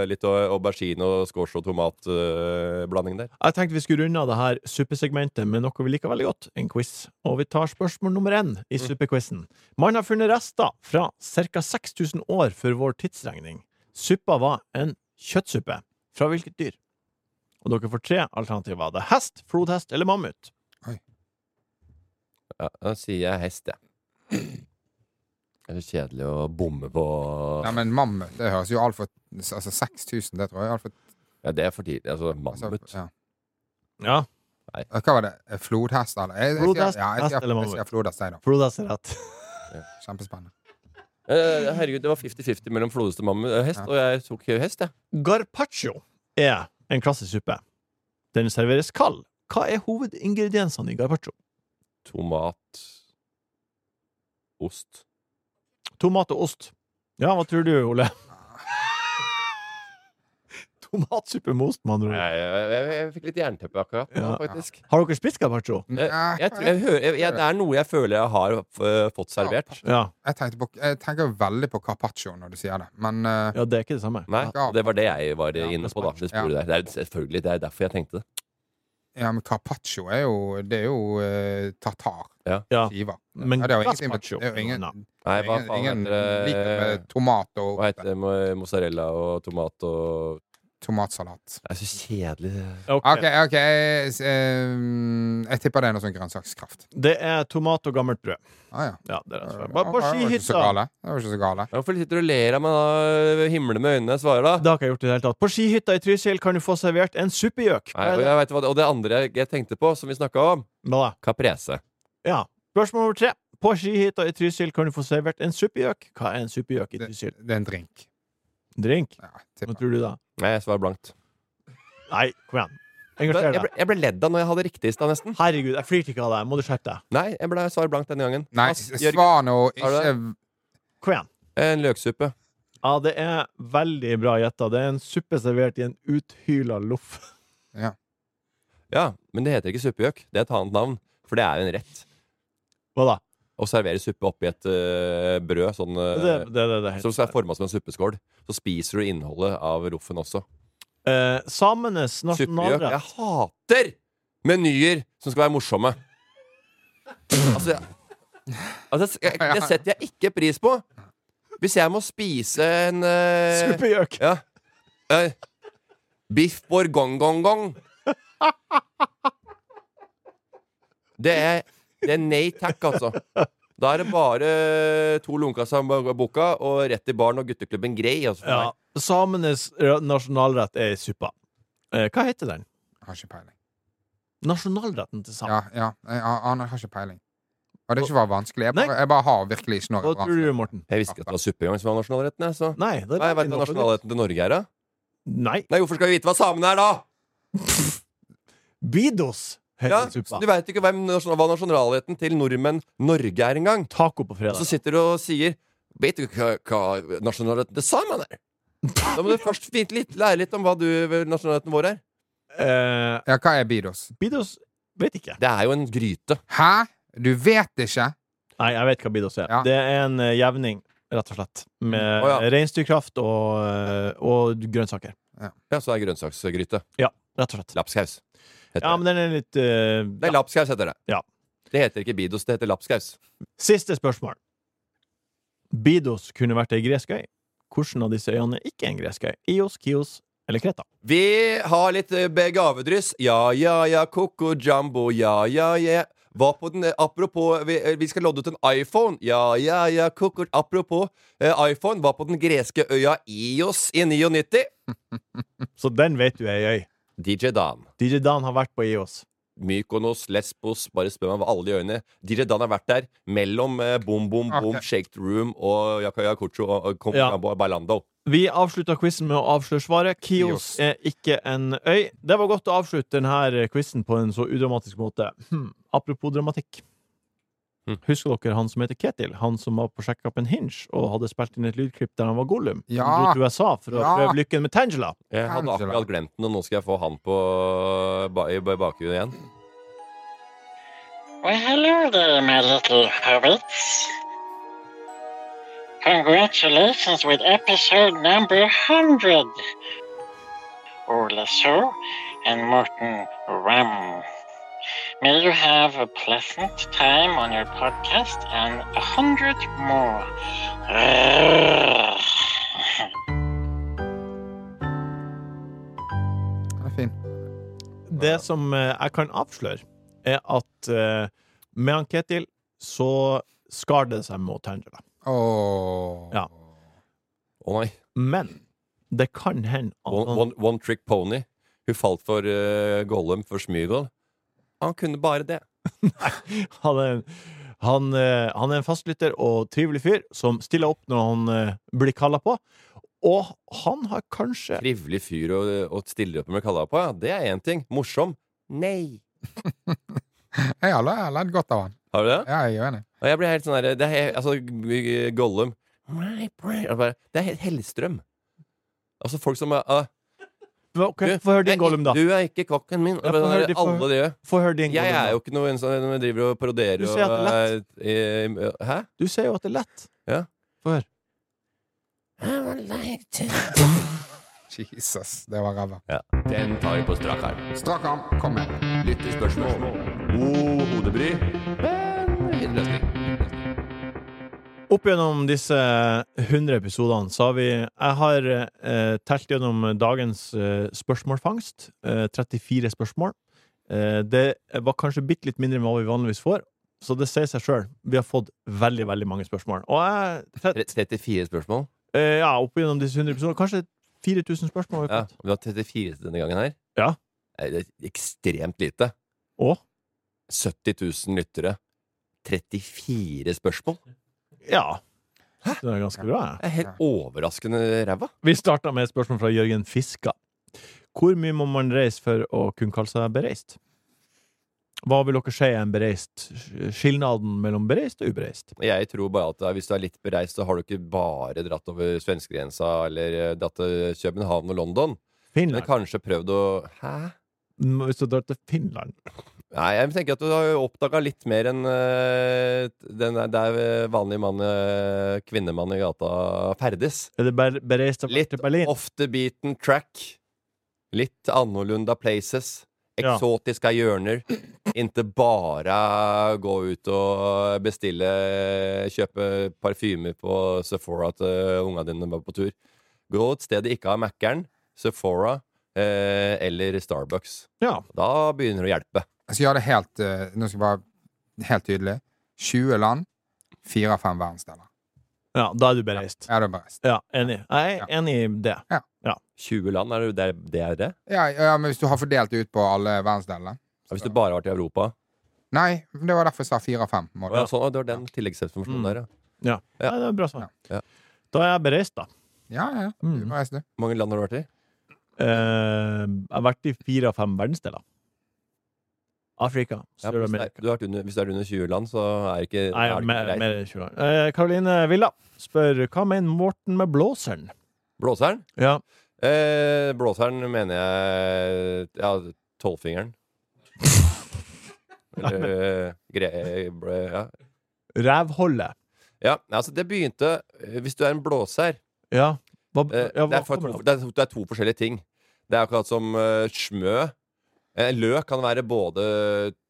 eh, litt au- aubergine og squash og tomatblanding der.
Jeg tenkte vi skulle runde av det her suppesegmentet med noe vi liker veldig godt, en quiz. Og vi tar spørsmål nummer én i
Mm.
suppequizen. Man har funnet rester fra ca. 6000 år før vår tidsregning. Suppa var en kjøttsuppe. Fra hvilket dyr? Og dere får tre alternativer. Det er hest, flodhest eller mammut.
Ja, da sier jeg hest, jeg. Det er så kjedelig å bomme på
Nei, men mammut, det høres jo altfor Altså 6000, det tror jeg er altfor
Ja, det er for tidlig. Altså,
altså,
mammut.
ja. Eh,
Ja,
Hva var det? Flodhest, eller? Jeg, jeg, sier-
Flodhest,
ja, jeg,
hest
sier-
eller
jeg, sier
mammut?
flodhest, jeg, da.
flodhest er rett.
Kjempespennende.
Eh, herregud, det var 50-50 mellom flodhest og mammut. eh, Hest,
Ja.
og jeg tok jo hest, jeg.
Garpaccio er en klassisk suppe. Den serveres kald. Hva er hovedingrediensene i garpaccio?
Tomat Ost.
Tomat og ost. Ja, hva tror du,
(laughs)
Ole? Tomatsuppe med ost, med andre
Nei,
ord.
jeg, jeg, jeg fikk litt jernteppe akkurat nå,
Ja.
faktisk. Eh,
Har dere spist gazpacho?
Jeg,
Nei,
jeg, tror- jeg, hører- jeg, jeg, det er noe jeg føler jeg har eh, fått servert.
Ja.
jeg, tenkte på, jeg tenker veldig på carpaccio når du sier det, men eh,
ja, det er ikke det samme.
Nei, og det var det jeg var eh,
Ja,
inne på, da. Det sporet der. Det er selvfølgelig det er derfor jeg tenkte det.
Ja, men carpaccio er jo Det er jo eh, tartar. Skiver.
Men
ja, det er jo ingenting med-
gazpacho?
det er jo ingen-
Nei, hva
ingen-
faen
ingen
heter det?
liter med tomat og
Hva heter det? Mo- Mozzarella og tomat og
Tomatsalat.
Det er så kjedelig.
OK, ok, jeg, eh, jeg tipper det er noe sånn grønnsakskraft.
Det er tomat og gammelt brød.
Ah, ja.
det er det som er.
Det
Bare
var-
på
det var ikke så
skihytta.
gale. Det var ikke så gale.
Ja, Hvorfor sitter du og ler av meg da? Himler med øynene. Svarer da.
Det har ikke jeg gjort i det hele tatt. På skihytta i Trysil kan du få servert en suppegjøk.
Nei, og, jeg vet hva, det- og det andre jeg, jeg tenkte på, som vi snakka om, caprese.
Ja. Spørsmål nummer tre. På skihytta i Trysil kan du få servert en suppegjøk. Hva er en suppegjøk i Trysil?
Det er en drink.
Drink? Hva tror du da?
Nei, jeg svarer blankt.
Nei, kom igjen.
Jeg
Engasjer
ble,
deg.
jeg ble ledd av når jeg hadde riktig i stad, nesten.
Herregud, jeg flirte ikke av deg. Må du skjerpe deg?
Nei, jeg ble svar blankt denne gangen.
Nei,
Ass,
s-
Jørgen,
svar nå.
har du Eh,
Ikke
Kom igjen.
En løksuppe.
Ja, det er veldig bra gjetta. Det er en suppe servert i en uthyla loff.
Ja, men det heter ikke suppegjøk. Det er et annet navn. For det er en rett.
Hva da?
Å servere suppe oppi et øh, brød sånn, øh,
Det- det- det- det heter-
som er forma som en suppeskål. Så spiser du innholdet av loffen også.
Eh, samenes
Suppegjøk.
nasjonalrett
Jeg hater menyer som skal være morsomme. Altså, jeg, altså jeg, jeg, Det setter jeg ikke pris på. Hvis jeg må spise en uh,
Suppegjøk.
Ja. Eh, biff bourgong-gong-gong. Det er, det er nei takk, altså. Da er det bare to lunkaser med boka og rett i baren og gutteklubben Grei. Altså, for
(laughs) Ja,
meg.
samenes ra- nasjonalrett er suppa. Eh, hva heter den?
Har ikke peiling.
Nasjonalretten til samen.
Ja, ja. Jeg, jeg, jeg har ikke peiling. Og det er ikke bare vanskelig. Jeg bare, jeg bare har virkelig ikke noe
Hva tror du, Morten?
Jeg visste ikke at det var suppe engang som var nasjonalretten. Jeg, så.
Nei, det er
Nei, vet du
veldig
hva
naturlig.
nasjonalretten til Norge er, da?
Nei.
Nei, hvorfor skal vi vite hva samene
(laughs)
er, da?
Bidos heter
Ja,
suppa.
så du veit ikke hvem, nasjonal- hva nasjonalretten til nordmenn Norge er engang.
Taco på fredag.
Så sitter du og sier Vet du hva, hva nasjonalretten til samene er? Da må du først vite litt, lære litt om hva du nasjonalretten vår er.
Ja, hva er bidos?
Bidos Eh, vet ikke.
Det er jo en gryte.
Hæ? Du vet ikke?
Nei, jeg vet hva bidos er.
Ja.
Det er en eh, jevning, rett og slett, med
Å, ja.
reinsdyrkraft og, eh, og grønnsaker.
Ja, så er det grønnsaksgryte.
Ja, rett og slett.
Lapskaus. heter
Ja,
det.
men den er litt eh,
Nei, lapskaus heter det.
Ja.
Det heter ikke bidos, det heter lapskaus.
Siste spørsmål. Bidos kunne vært ei gresk øy. Hvilken av disse øyene er ikke en gresk øy? Ios, Kios eller Kreta?
Vi har litt eh, be- gavedryss. Ja, ja, ja, koko jumbo. Ja, ja, ja. Hva på den, eh, apropos vi, eh, vi skal lodde ut en iPhone. Ja, ja, ja, koko Apropos eh, iPhone. Hva på den greske øya Ios i 99?
Så den vet du er ei øy.
DJ Dan.
DJ Dan har vært på E Ios.
Mykonos, Lesbos, bare spør meg hva alle de øyene DJ Dan har vært der mellom eh, Boom Boom Boom,
Ok.
Shake the Room og Yakaya Kucho og, og Kom
Ja.
Kambo og Bailando.
Vi avslutta quizen med å avsløre svaret. Kios
Kios.
er ikke en øy. Det var godt å avslutte denne quizen på en så udramatisk måte. Hm. Apropos dramatikk.
Hm.
Husker dere han som heter Ketil? Han som var på sjekkappen Hinge og hadde spilt inn et lydklipp der han var Gollum?
Ja.
Han dro til USA for å
Ja.
prøve lykken med Tangela.
Jeg hadde
Angela.
akkurat glemt den, og nå skal jeg få han på, ba, i bakgrunnen igjen.
Well, hello there, my little hobbits. Congratulations with episode number 100. Ola So and Morten Ram. May you have a pleasant time on your podcast and a hundred more.
Den er fin.
Det som eh, jeg kan avsløre, er at eh, med han Ketil så skar det seg mot Tangela.
Åh.
Ja.
Å nei.
Men det kan hende at
One,
han
one, one Trick Pony. Hun falt for eh, Gollum for Smygol. Han kunne bare
(laughs)
det.
Han er, han, eh, han er en fastlytter og trivelig fyr som stiller opp når han eh, blir kalla på. Og han har kanskje
Trivelig fyr og, og stiller opp med kalla på, ja. Det er én ting. Morsom. Nei.
Jeg har lært- jeg har lært godt av han.
Har du det?
Ja, jeg er enig.
Og jeg blir helt sånn der det er, he- Altså, Gollum Nei, nei. Jeg bare, Det er helt Hellstrøm. Altså, folk som er ah,
Ok, Få høre
jeg-
din Gollum, da.
Du er ikke kokken min.
Ja,
Og bare
få
sånn
høre
der,
de- få-
alle de gjør.
Få høre din
Jeg
Gollum.
er
da.
jo ikke noen sånn en som driver og paroderer
Du sier at det er
og er- eh, Hæ?
Du sier jo at det er lett.
Ja.
Få høre.
Jesus, det var ræva.
Den tar vi på strak arm.
Strak arm, kom med.
Lytterspørsmål. God hodebry. Men fin løsning.
Opp gjennom disse 100 episodene så har vi Jeg har eh, telt gjennom dagens eh, spørsmålfangst. Eh, 34 spørsmål. Eh, det var kanskje bitte litt mindre enn hva vi vanligvis får, så det sier seg sjøl. Vi har fått veldig, veldig mange spørsmål. Og jeg
34 spørsmål?
Eh, ja, opp gjennom disse 100 episodene. Kanskje 4000 spørsmål. har vi
Ja,
fått.
Vi har 34 denne gangen her.
Ja.
Det er ekstremt lite.
Og?
70 000 lyttere. 34 spørsmål?
Ja. Det er ganske bra.
Det er helt overraskende ræva.
Vi starta med et spørsmål fra Jørgen Fiska. Hvor mye må man reise for å kunne kalle seg bereist? Hva vil dere si er en bereist? Skilnaden mellom bereist og ubereist?
Jeg tror bare at eh, hvis du er litt bereist, så har du ikke bare dratt over svenskegrensa eller eh, dratt til København og London.
Finland.
Men kanskje prøvd å Hæ?
Mm, Hvis du drar til Finland
Nei, jeg tenker at du har oppdaga litt mer enn eh, den der, der vanlige mann, eh, kvinnemann i gata ferdes.
Er det ber bereist å
Litt ofte beaten track. Litt annorlunda places.
Ja.
Eksotiske hjørner. Ikke bare gå ut og bestille Kjøpe parfyme på Sephora til ungene dine når de er på tur. Gå et sted de ikke har Mækkern, Sephora eh, eller Starbucks.
Ja.
Da begynner det å hjelpe.
Jeg skal gjøre det helt, eh, nå skal jeg være helt tydelig. 20 land, fire av fem verdensdeler.
Ja, da er du bereist.
Ja, det er bereist.
Ja, enig. Jeg er enig i det.
Ja.
20 land, er det det? det, er det?
Ja, ja, men hvis du har fordelt det ut på alle verdensdelene.
Ja, Hvis du bare har vært i Europa.
Nei, det var derfor jeg sa fire av fem. må
Å,
det
ja,
være.
sånn, å, det var den
Mm.
tilleggsinformasjonen der, ja.
Ja.
Ja.
Nei, det er bra svar.
Ja.
Da er jeg bereist, da.
Ja, ja, ja. Du må reise, du.
Hvor mange land har du vært i?
Eh, jeg har vært i fire av fem verdensdeler. Afrika,
Ja, hvis, det
Sør-Amerika
er, du har vært under, hvis det er under 20 land, så er ikke,
Nei,
er det
mer,
greit.
mer enn 20 år. Eh, Karoline Villa spør hva mener Morten med blåseren?
Blåseren?
Ja.
Eh, blåseren mener jeg Ja,
(laughs)
tolvfingeren. Eller eh, gre... eh, ble- Ja.
Rævholdet.
ja. Altså, det begynte eh, Hvis du er en blåser
Ja. Hva,
eh,
ja,
det,
hva
er for,
kommer det
det, er, det er to forskjellige ting. Det er akkurat som eh, smø. Eh, løk kan være både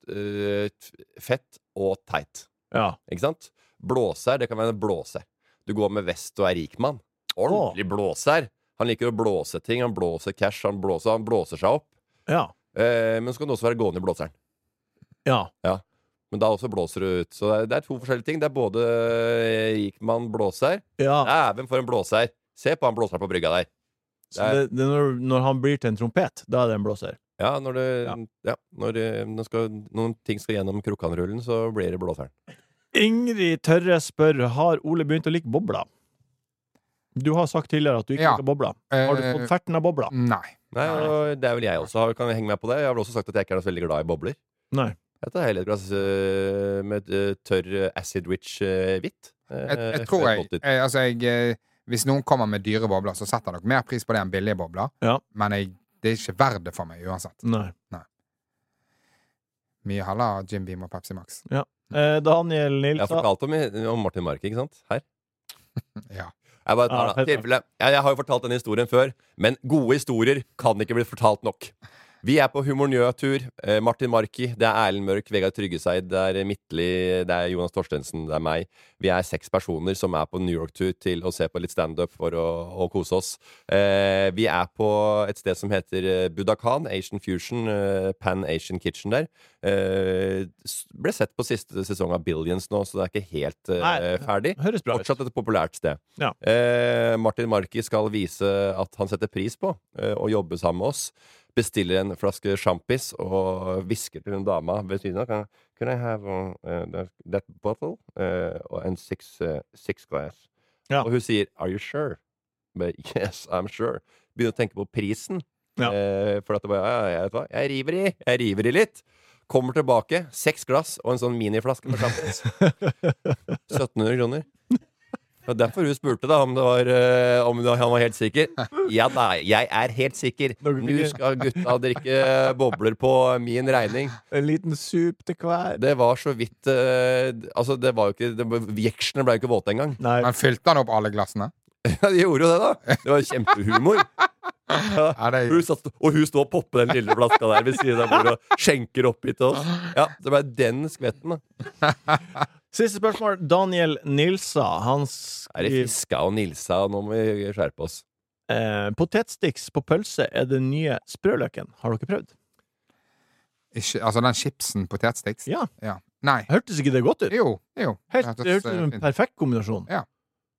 eh, t- fett og teit.
Ja.
Ikke sant? Blåser, det kan være en blåser. Du går med vest og er rik mann. Ordentlig blåser. Han liker å blåse ting. Han blåser cash, han blåser, han blåser seg opp.
Ja.
Eh, men så kan du også være gående i blåseren.
ja.
Ja. Men da også blåser du ut. Så det er, det er to forskjellige ting. Det er både eh, rik mann, blåser.
Ja.
Dæven, for en blåser! Se på han blåseren på brygga der.
Så det, det er når, når han blir til en trompet, da er det en blåser.
Ja, når, det, ja. når, eh, når, skal, noen ting skal gjennom krukkanrullen, så blir det blåseren.
Ingrid Tørre spør har Ole begynt å like bobler. Du har sagt tidligere at du ikke
Ja.
liker bobler. Har du
Eh,
fått ferten av bobler?
Nei.
Nei, og det er vel jeg også. Har- Kan jeg henge meg på det? Jeg har vel også sagt at jeg ikke er så veldig glad i bobler.
Nei.
Jeg tar heller et glass eh, med eh, tørr eh, acid rich eh, hvitt. Eh,
Jeg, jeg tror
ser
jeg,
godt ut.
jeg, altså jeg eh, Hvis noen kommer med dyre bobler, så setter dere mer pris på det enn billige bobler.
Ja.
Men jeg, det er ikke verdt det for meg uansett.
Nei.
Mye heller Jim Beam og Pepsi Max.
Eh, Daniel
Jeg har
Nilsa
fortalt om, om Martin Mark, ikke sant? Her.
Ja.
Jeg, bare
Ja,
tar,
helt
det. Tilfelle- jeg, jeg har jo fortalt denne historien før, men gode historier kan ikke bli fortalt nok. Vi er på Humornjø-tur. Eh, Martin Marki, det er Erlend Mørk, Vegard Tryggeseid, det er Midtli, det er Jonas Torstensen, det er meg. Vi er seks personer som er på New York-tur til å se på litt standup for å, å kose oss. Eh, vi er på et sted som heter eh, Budakan, Asian Fusion, eh, Pan Asian Kitchen der. Eh, s- ble sett på siste sesong av Billions nå, så det er ikke helt eh,
Nei,
ferdig.
høres bra ut.
Fortsatt et populært sted.
Ja.
Eh, Martin Marki skal vise at han setter pris på eh, å jobbe sammen med oss. Bestiller en flaske sjampis og hvisker til en dame ved siden av. Kan, can I have uh, that, that bottle uh, and six, uh, six glass?
Ja.
Og hun sier 'Are you sure?' But, (laughs) 'Yes, I'm sure'. Begynner å tenke på prisen.
Ja.
Eh, for at det bare, ja, ja, jeg, vet hva, jeg river i, jeg river i litt. Kommer tilbake, seks glass og en sånn miniflaske med
(laughs)
sjampis. 1700 kroner. Det var derfor hun spurte da om, det var, eh, om det- han var helt sikker. Ja da, jeg er helt sikker. Nå skal gutta drikke bobler på min regning.
En liten sup til hver.
Det var så vidt eh, Altså, det var jo ikke det, Jekslene ble jo ikke våte engang.
Nei.
(laughs)
Men fylte han opp alle glassene?
Ja, De gjorde jo det, da. Det var kjempehumor. Ja, hun satt, og hun står og popper den lille flaska der ved siden av bordet og skjenker oppi til oss. Ja, Det ble den skvetten, da.
Siste spørsmål. Daniel Nilsa. Hans
Er det Fiska og Nilsa? Nå må vi skjerpe oss.
Eh, potetsticks på pølse er den nye sprøløken. Har dere prøvd?
Ikke, altså den chipsen potetsticks?
Ja.
Nei.
Hørtes ikke det godt ut?
Jo. jo.
Helt,
Det hørtes,
det hørtes ut som
eh,
en perfekt kombinasjon.
Ja.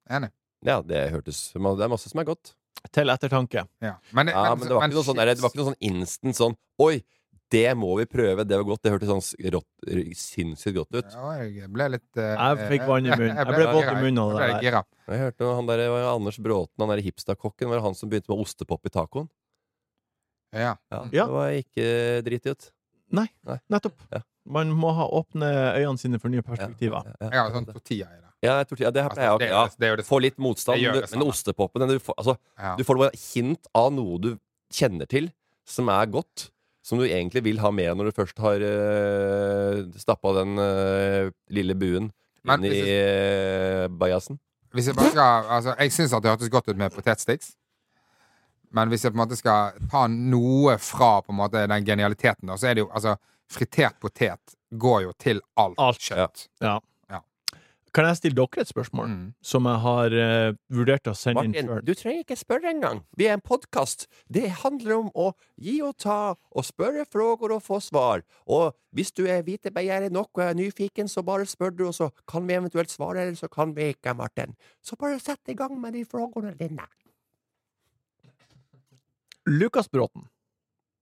Enig.
Ja, det hørtes Det er masse som er godt.
Til ettertanke.
Ja, men,
ja, men det var ikke noe sånn, der- det var ikke noe sånn instant sånn Oi, det må vi prøve. Det var godt. Det hørtes sånn s- rått, sinnssykt godt ut.
Ja, jeg ble litt eh,
Jeg fikk vann i munnen.
(laughs)
Jeg ble våt i munnen av det
Jeg ble
der.
gira.
Jeg hørte noe, han der, det var Anders Bråten, han der hipsterkokken, var det han som begynte med ostepop i tacoen?
Ja.
Det var ikke drit i ut.
Nei,
Nei.
nettopp. Man må ha åpne øynene sine for nye perspektiver.
Jeg har sånn tortilla i det.
Ja, jeg tror, ja, det
Altså,
her pleier jeg å ja, Få litt motstand.
det gjør det
men- men ostepopen den du, får- altså,
Ja.
du får noe hint av noe du kjenner til, som er godt. Som du egentlig vil ha med når du først har uh, stappa den eh, lille buen
Men
inn i eh, bajasen.
Hvis jeg bare skal Altså, jeg syns at det hørtes godt ut med potetsticks. Men hvis jeg på en måte skal ta noe fra på en måte den genialiteten, da, så er det jo altså Fritert potet går jo til alt, kjøtt.
Ja. Kan jeg stille dere et spørsmål,
Mm.
som jeg har eh, vurdert å sende inn
Martin,
før?
du trenger ikke spørre engang. Vi er en podkast. Det handler om å gi og ta, og spørre frågor og få svar. Og hvis du er vitebegjærig nok og er nyfiken, så bare spør du, og så kan vi eventuelt svare, eller så kan vi ikke, Martin. Så bare sett i gang med de frågorna dine.
Lukas Bråten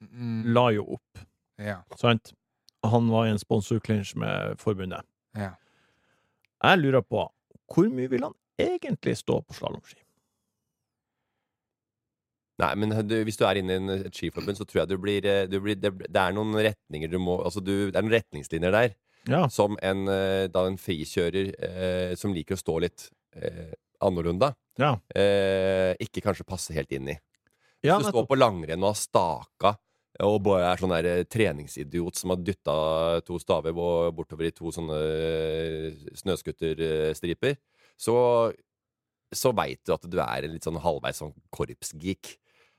Mm.
la jo opp,
Ja.
sant? Han var i en sponsorclinch med forbundet.
Ja.
Jeg lurer på, hvor mye vil han egentlig stå på slalåmski?
Nei, men eh, du, hvis du er inne i en- eh, et skiforbund, så tror jeg du blir, eh, du blir det, det er noen retninger du må Altså, du, det er noen retningslinjer der. Som en, eh, da en frikjører eh, som liker å stå litt eh, annorlunda,
Ja.
eh, ikke kanskje passer helt inn i. Hvis
Ja,
du står på langrenn og har staka og bare er sånn der eh, treningsidiot som har dytta to staver bo- bortover i to sånne eh, snøskuterstriper, så så veit du at du er en litt sånn halvveis sånn korpsgeek.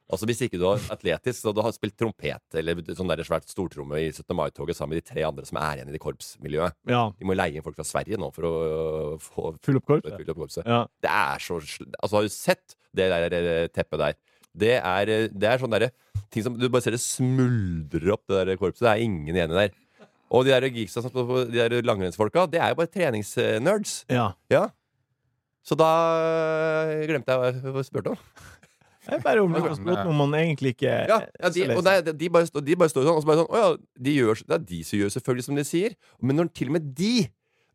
Altså Hvis ikke du er atletisk, så du har spilt trompet eller sånn der svært stortromme i 17. mai-toget sammen med de tre andre som er igjen i det korpsmiljøet.
Ja.
De må leie inn folk fra Sverige nå for å øh, få
Fylle opp korpset.
Fylle opp korpset.
Ja.
Det er så sl- Altså, har du sett det der eh, teppet der? Det er, eh, det er sånn derre ting som Du bare ser det smuldrer opp, det der korpset. Det er ingen igjen i der. Og de der geeksa som står på de der langrennsfolka, det er jo bare treningsnerds.
Ja.
Ja. Så da øh, glemte jeg hva jeg spurte om.
Jeg bare om
(laughs)
Lukas Bråten om han egentlig ikke
Ja, ja de, og det, er- de, bare står, de bare står sånn, og så bare sånn Å ja, de gjør, det er de som gjør selvfølgelig som de sier. Men når til og med de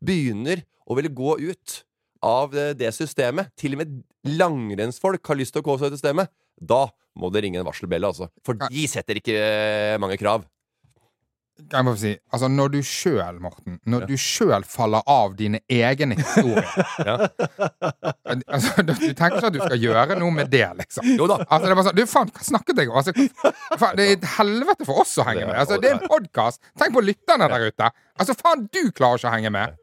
begynner å ville gå ut av det, det systemet, til og med langrennsfolk har lyst til å gå seg ut av systemet, da må det ringe en varselbelle, altså. For de setter ikke eh, mange krav.
Kan jeg bare få si, altså når du sjøl, Morten, når du sjøl faller av dine egne historier (laughs) altså, du, du tenker ikke at du skal gjøre noe med det, liksom. Altså, det er bare sånn, du, faen, hva snakket jeg om? Altså, hva- faen, det er et helvete for oss å henge med. Altså, det er en podkast. Tenk på lytterne der ute. Altså, faen, du klarer ikke å henge med.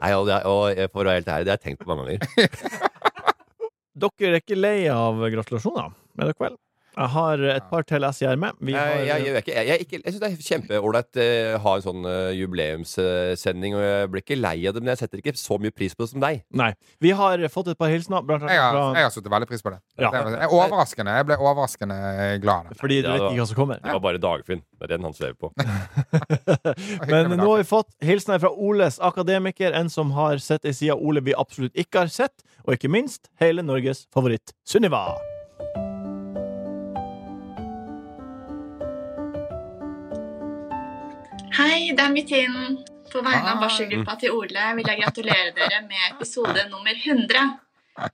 Nei, og, det, er- og eh, for å være helt ærlig, det har jeg tenkt på mange ganger.
Dere er ikke lei av gratulasjoner med dere, vel? Jeg har et par til jeg gjør med. Vi har,
Jeg, jeg, jeg, er ikke- jeg, jeg, er ikke- jeg syns det er kjempeålreit eh, å ha en sånn eh, jubileumssending, og jeg blir ikke lei av det, men jeg setter ikke så mye pris på det som deg.
Nei. Vi har fått et par hilsener. Blant annet
Jeg har,
fra
jeg har satt veldig pris på det.
Ja.
det er overraskende. Jeg ble overraskende glad. av det.
Fordi du
Ja, det
vet
var-
ikke hva som kommer.
Det var bare Dagfinn. Det er den han svever
(laughs)
på.
Men nå har vi fått hilsener fra Oles akademiker, en som har sett ei side av Ole vi absolutt ikke har sett, og ikke minst hele Norges favoritt, Sunniva.
Hei, det er Mitin. På vegne av barselgruppa til Ole vil jeg gratulere dere med episode nummer 100.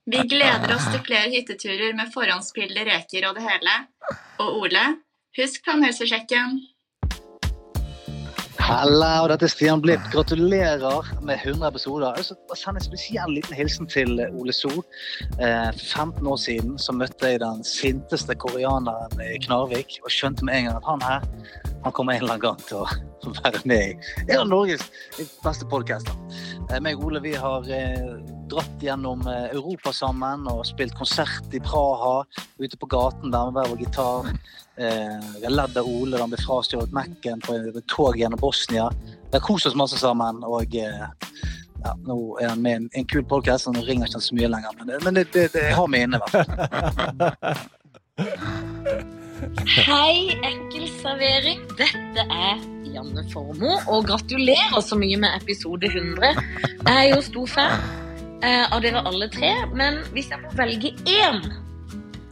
Vi gleder oss til flere hytteturer med forhåndspilde reker og det hele. Og Ole, husk tannhelsesjekken.
Halla, og dette er Stian Blipp. Gratulerer med 100 episoder. Jeg vil bare sende en spesiell liten hilsen til Ole So. Eh, For 15 år siden så møtte jeg den sinteste koreaneren i Knarvik og skjønte med en gang at han her han kommer en eller annen gang til å (laughs) være med i en av Norges beste podcaster. Eh, Meg og Ole vi har eh, dratt gjennom eh, Europa sammen og spilt konsert i Praha. Ute på gaten der med hver vår gitar. Eh, vi har ledd av Ole da han ble frastjålet Mac-en på et tog gjennom Bosnia. Vi har kost oss masse sammen. og... Eh, ja, nå er han med i en, en kul podkast, og nå ringer ikke han så mye lenger. Men, det- men det, det, det jeg har vi inne, i hvert fall.
Hei, ekkel servering. Dette er Janne Formoe, og gratulerer så mye med episode 100. Jeg er jo stor fan eh, av dere alle tre, men hvis jeg må velge én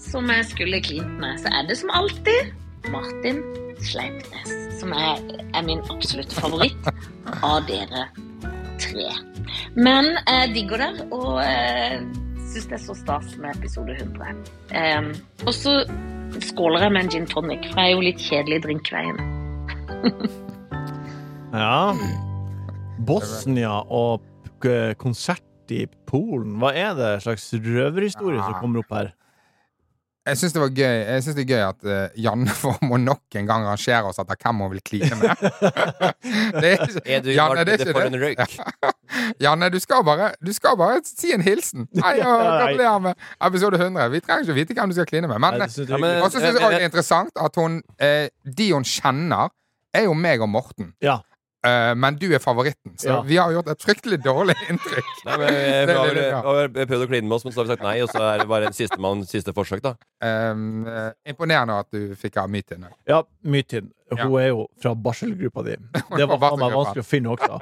som jeg skulle klint med, så er det som alltid Martin Sleipnes, som er, er min absolutt favoritt av dere tre. Men jeg digger dere, og eh, syns det er så stas med episode 100. Eh, og så skåler jeg med en gin tonic, for jeg er jo litt kjedelig i drinkveien.
Ja. Bosnia og k- konsert i Polen. Hva er det slags røverhistorie som kommer opp her?
Ah. Jeg syns det var gøy Jeg synes det er gøy at eh, Janne (laughs) Formoe nok en gang rangere oss etter hvem hun vil kline
(laughs)
med. det er ikke,
Er du
Janne, det
Martin,
er ikke
for
det.
en røyk?
(laughs) Janne, du skal bare, du skal bare si en hilsen. Hei,
(laughs)
og
Nei.
gratulerer med episode 100. Vi trenger ikke vite hvem du skal kline med. Men,
Nei, det synes jeg er hyggelig.
og så syns jeg
Men-
også det er interessant at hun eh, De hun kjenner, er jo meg og Morten. Eh, men du er favoritten, så
Ja.
vi har gjort et fryktelig dårlig (laughs) inntrykk.
Nei, men, eh, jeg,
Det er
har
veldig bra.
har prøvd å kline med oss, men så har vi sagt nei, og så er det bare en siste, mann, siste forsøk, da.
Ehm, eh, imponerende at du fikk av Mytin.
Ja, Mytin. Hun er jo fra barselgruppa
(laughs)
di. Det var faen meg vanskelig å finne også.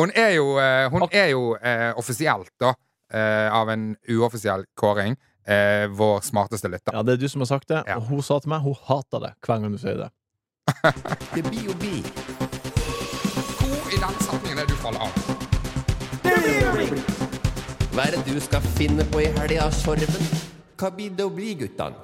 Hun er jo, eh, hun er jo eh, offisielt, da, eh, av en uoffisiell kåring, eh, vår smarteste lytter.
Ja, det er du som har sagt det, og hun sa til meg hun hata det hver gang du sier det.
Det blir jo bi. Hvor i den setningen er du faller av?
Hva er det du skal finne på i helga, Sorven? Hva blir det å bli, guttan?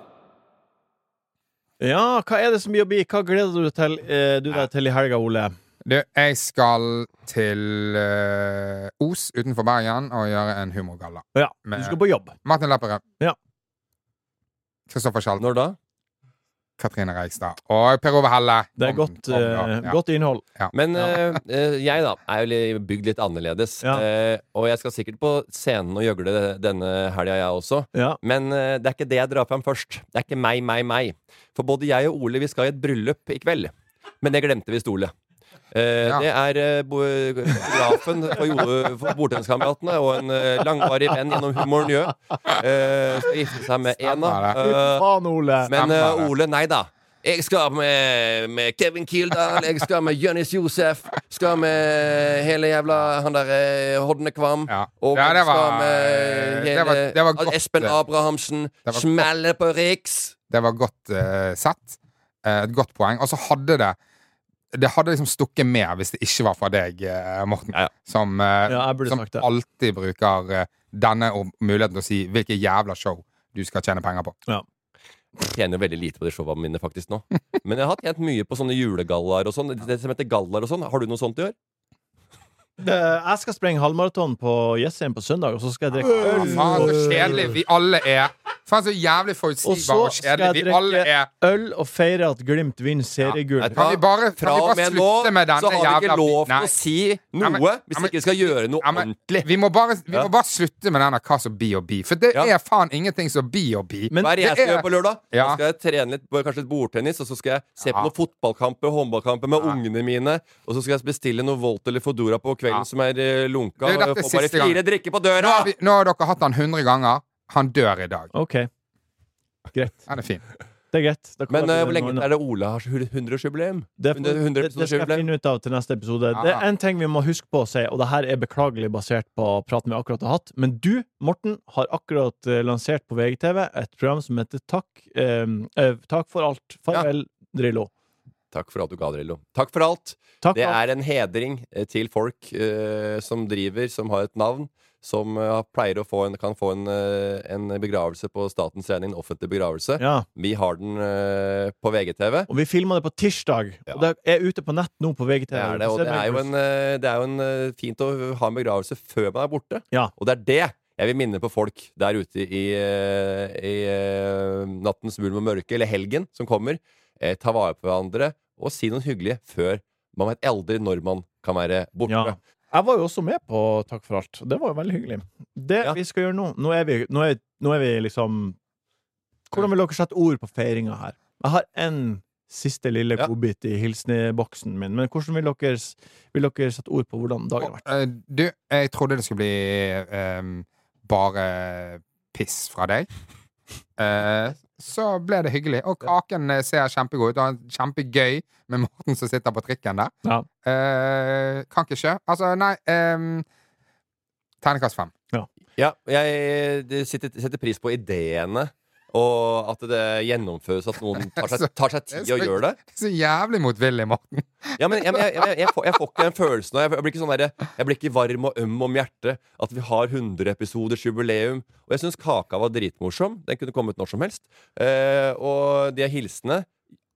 Ja, hva er det som blir å bli? Hva gleder du, til, eh, du deg til i helga, Ole?
Du, jeg skal til eh, Os utenfor Bergen og gjøre en humorgalla.
Ja,
Med
du skal på jobb.
Martin Lepperød.
Ja.
Kristoffer Schjelten.
Når da?
Katrine Reigstad. Og Per Ove Helle.
Det er
Om-
godt,
om- ja,
eh,
ja.
godt
innhold.
Men eh, eh, jeg, da, er jo li- bygd litt annerledes. Eh, og jeg skal sikkert på scenen og gjøgle denne helga, jeg også.
Ja.
Men eh, det er ikke det jeg drar fram først. Det er ikke meg, meg, meg. For både jeg og Ole vi skal i et bryllup i kveld. Men det glemte vi stolet. Eh, Det er eh, bo- fotografen for, jord- for Bordtenniskameratene og en eh, langvarig venn gjennom Humor Njø. Eh, skal gifte seg med en av
Fy
eh,
faen, Ole.
men eh, Ole, nei da. Jeg skal med, med Kevin Kildahl, jeg skal med Jonis Josef, skal med hele jævla han der eh, Hodnekvam. Og
Ja, det var-
skal med hele
det var- det var godt,
Espen
det.
Abrahamsen.
var godt.
Smelle på Riks.
Det var godt eh, sett. Eh, et godt poeng. Og så hadde det Det hadde liksom stukket med hvis det ikke var fra deg, eh, Morten, som, eh, som alltid bruker eh, denne og muligheten til å si hvilke jævla show du skal tjene penger på.
Jeg tjener jo veldig lite på de showene mine faktisk
(laughs)
nå. Men jeg har tjent mye på sånne julegallaer og sånn. Det som heter gallaer og sånn. Har du noe sånt i år?
Det, Eh, jeg skal sprenge halvmaraton på Jessheim på søndag, og så skal jeg drikke
Faen, så kjedelig vi alle er. Faen, så jævlig
Og så
forutsigbare og
skal jeg
kjedelige vi alle er.
drikke øl og feire at Glimt vinner seriegull.
Kan vi bare, kan
Fra
vi
og
bare
med nå
slutte med denne
så har vi ikke
jævla
lov til
Nei.
å si
Nei, men-
noe
nei, men-
Hvis ikke skal gjøre noe
Ja, men, vi må, bare, vi må bare slutte med denne hva som bi og bi, for det
Ja.
er faen ingenting som bi og bi.
Hva er det jeg
Det
skal gjøre på lørdag?
Ja.
Da skal jeg trene litt, kanskje litt bordtennis, og så skal jeg se på
Ja.
noen fotballkamper, håndballkamper med ungene mine, og så skal jeg bestille noe Volt eller Fodora på kvelden som er eh, lunka.
Det er
og
dette
få bare
siste gang.
fire drikker på døra!
Nå har, vi, nå har dere hatt han 100 ganger. Han dør i dag.
OK. Greit.
Han er fin.
Det er greit. Da kommer
Men eh,
jeg
hvor
til noe
lenge
annet.
er det Ole har 100-årsjubileum?
Det, får-
100,
det, det skal
100
jeg finne ut av til neste episode.
Ja.
Det er en ting vi må huske på å si, og det her er beklagelig basert på praten vi akkurat har hatt, men du, Morten, har akkurat eh, lansert på VGTV et program som heter Takk, eh, eh, takk for alt. Farvel, Drillo.
Takk for alt du ga, Drillo. Takk for alt.
Takk
det
for alt.
er en hedring eh, til folk eh, som driver, som har et navn, som eh, har- pleier å få en, kan få en, eh, en begravelse på statens regning, en offentlig begravelse.
Ja.
Vi har den eh, på VGTV.
Og vi filma det på tirsdag, og det er ute på nett nå på VGTV.
Det er det, og det er jo, en, eh, det er jo en, eh, fint å ha en begravelse før man er borte. Og det er det jeg vil minne på folk der ute i, eh, i eh, nattens mulm og mørke, eller helgen som kommer. Eh, ta vare på hverandre, og si noen hyggelige før man vet aldri når man kan være borte.
Jeg var jo også med på Takk for alt. Det var jo veldig hyggelig. Det vi skal gjøre nå Nå er vi, nå er, nå er vi liksom Hvordan vil dere sette ord på feiringa her? Jeg har én siste lille godbit i hilsenboksen min, men hvordan vil dere, s- vil dere sette ord på hvordan dagen har vært?
Eh, Du, jeg trodde det skulle bli ehm, bare piss fra deg. Eh, så ble det hyggelig. Og kaken eh, ser kjempegod ut. Og han er kjempegøy med Morten som sitter på trikken der. Eh, kan ikke skje. Altså, nei um, Terningkast fem. (laughs)
Ja, jeg det sitter, setter pris på ideene. Og at det gjennomføres, at noen tar
(laughs)
seg, tar seg tid og gjør det.
Så jævlig motvillig, Morten.
Ja, men jeg, jeg, jeg, jeg, får, jeg får ikke den følelsen av jeg, jeg, blir ikke sånn derre- jeg blir ikke varm og øm om hjertet At vi har 100 episoders jubileum Og jeg synes kaka var dritmorsom Den kunne kommet når som helst eh, Og de er hilsene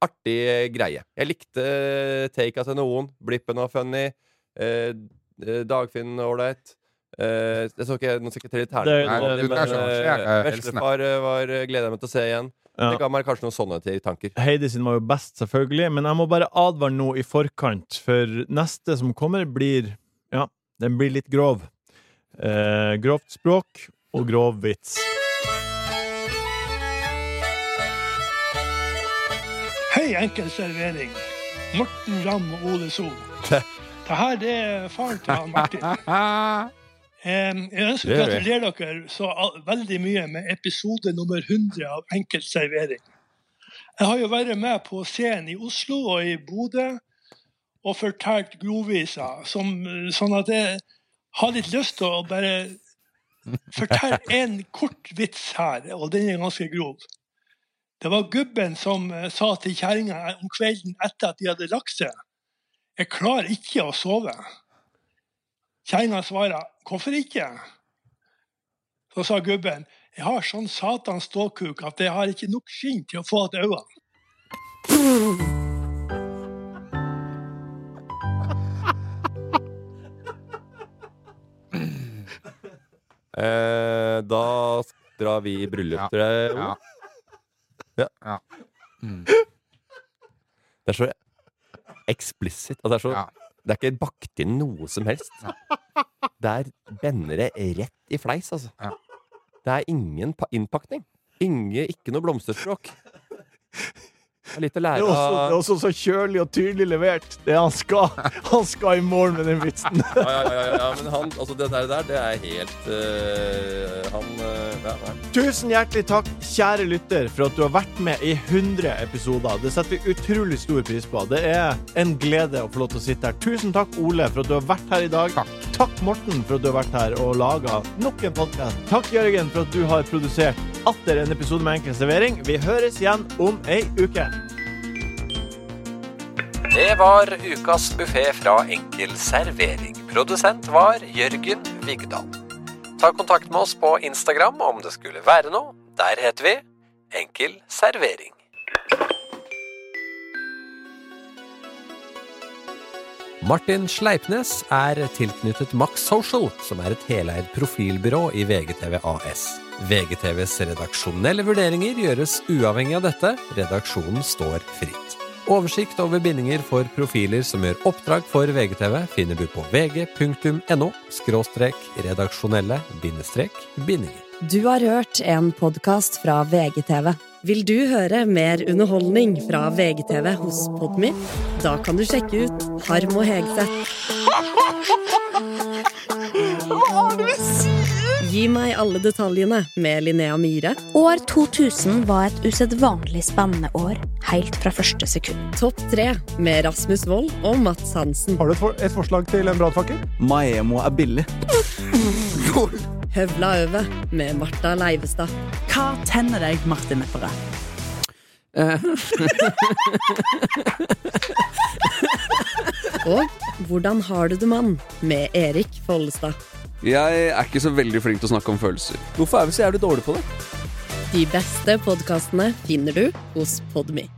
Artig greie Jeg likte eh, take til noen Blippen var funny eh, eh, Dagfinn var ålreit eh, Jeg så ikke noen sekretær i
Det- sånn,
ternet
Nei, du
Men
trenger ikke å
eh,
skjære hilsene.
Veslefar eh, var, gleder jeg meg til å se igjen
Ja.
Det ga meg kanskje noen sånne til tanker
Heidi sin var jo best, selvfølgelig, men jeg må bare advare nå i forkant, for neste som kommer, blir Ja, den blir litt grov. Eh, grovt språk og grov vits.
Hei, enkel servering. Morten Ramm og Ole Sol. Det her det er faren til han Martin.
(laughs)
Em, Jeg ønsker å
Det er vi.
gratulere dere så al- veldig mye med episode nummer 100 av Enkel servering. Jeg har jo vært med på scenen i Oslo og i Bodø og fortalt groviser, som, sånn at jeg har litt lyst til å bare
(laughs)
fortelle en kort vits her, og den er ganske grov. Det var gubben som eh, sa til kjerringa om kvelden etter at de hadde lagt seg Jeg klarer ikke å sove. Kjerringa svarer Hvorfor ikke? Så sa gubben Jeg har sånn satans ståkuk at jeg har ikke nok skinn til å få igjen øynene.
Eh, da drar vi i bryllup til deg, Ole. Ja. Det er så eksplisitt. Altså, det, er så, det er ikke bakt inn noe som helst. Der bender det rett i fleis, altså. Det er ingen pa innpakning. Inge, ikke noe blomsterspråk. Det er litt å
Det er
lære
også, det er
av
også så kjølig og tydelig levert. Det han skal. Han skal i mål med den vitsen.
ja, ja, ja, ja, ja, men han, altså det der, der, det er helt eh, Han eh, ja, nei.
Tusen hjertelig takk, kjære lytter, for at du har vært med i 100 episoder. Det setter vi utrolig stor pris på. Det er en glede å få lov til å sitte her. Tusen takk, Ole, for at du har vært her i dag. Takk, Morten, for at du har vært her og laga nok en podkast. Takk, Jørgen, for at du har produsert atter en episode med Enkel servering. Vi høres igjen om ei uke.
Det var ukas buffé fra Enkel servering. Produsent var Jørgen Vigdal. Ta kontakt med oss på Instagram om det skulle være noe. Der heter vi Enkel servering. Martin Sleipnes er tilknyttet Max Social, som er et heleid profilbyrå i VGTV AS. VGTVs redaksjonelle vurderinger gjøres uavhengig av dette. Redaksjonen står fritt. Oversikt over bindinger for profiler som gjør oppdrag for VGTV, finner du på vg.no redaksjonelle bindinger.
Du har hørt en podkast fra VGTV. Vil du høre mer underholdning fra VGTV hos Podmy? Da kan du sjekke ut Harm og Hegseth. Hva er det du sier?! Gi meg alle detaljene med Linnea Myhre.
År 2000 var et usedvanlig spennende år, helt fra første sekund.
Topp tre med Rasmus Wold og Mats Hansen. Har du et, forslag til en brannfakkel?
Maemo er billig.
Høvla over med Marta Leivestad. Hva tenner deg, Martin Nepperød? Eh. (laughs) Og Hvordan har du det, mann? med Erik Follestad.
Jeg er ikke så veldig flink til å snakke om følelser. Hvorfor er vi så jævlig dårlige på det?
De beste podkastene finner du hos Podmy.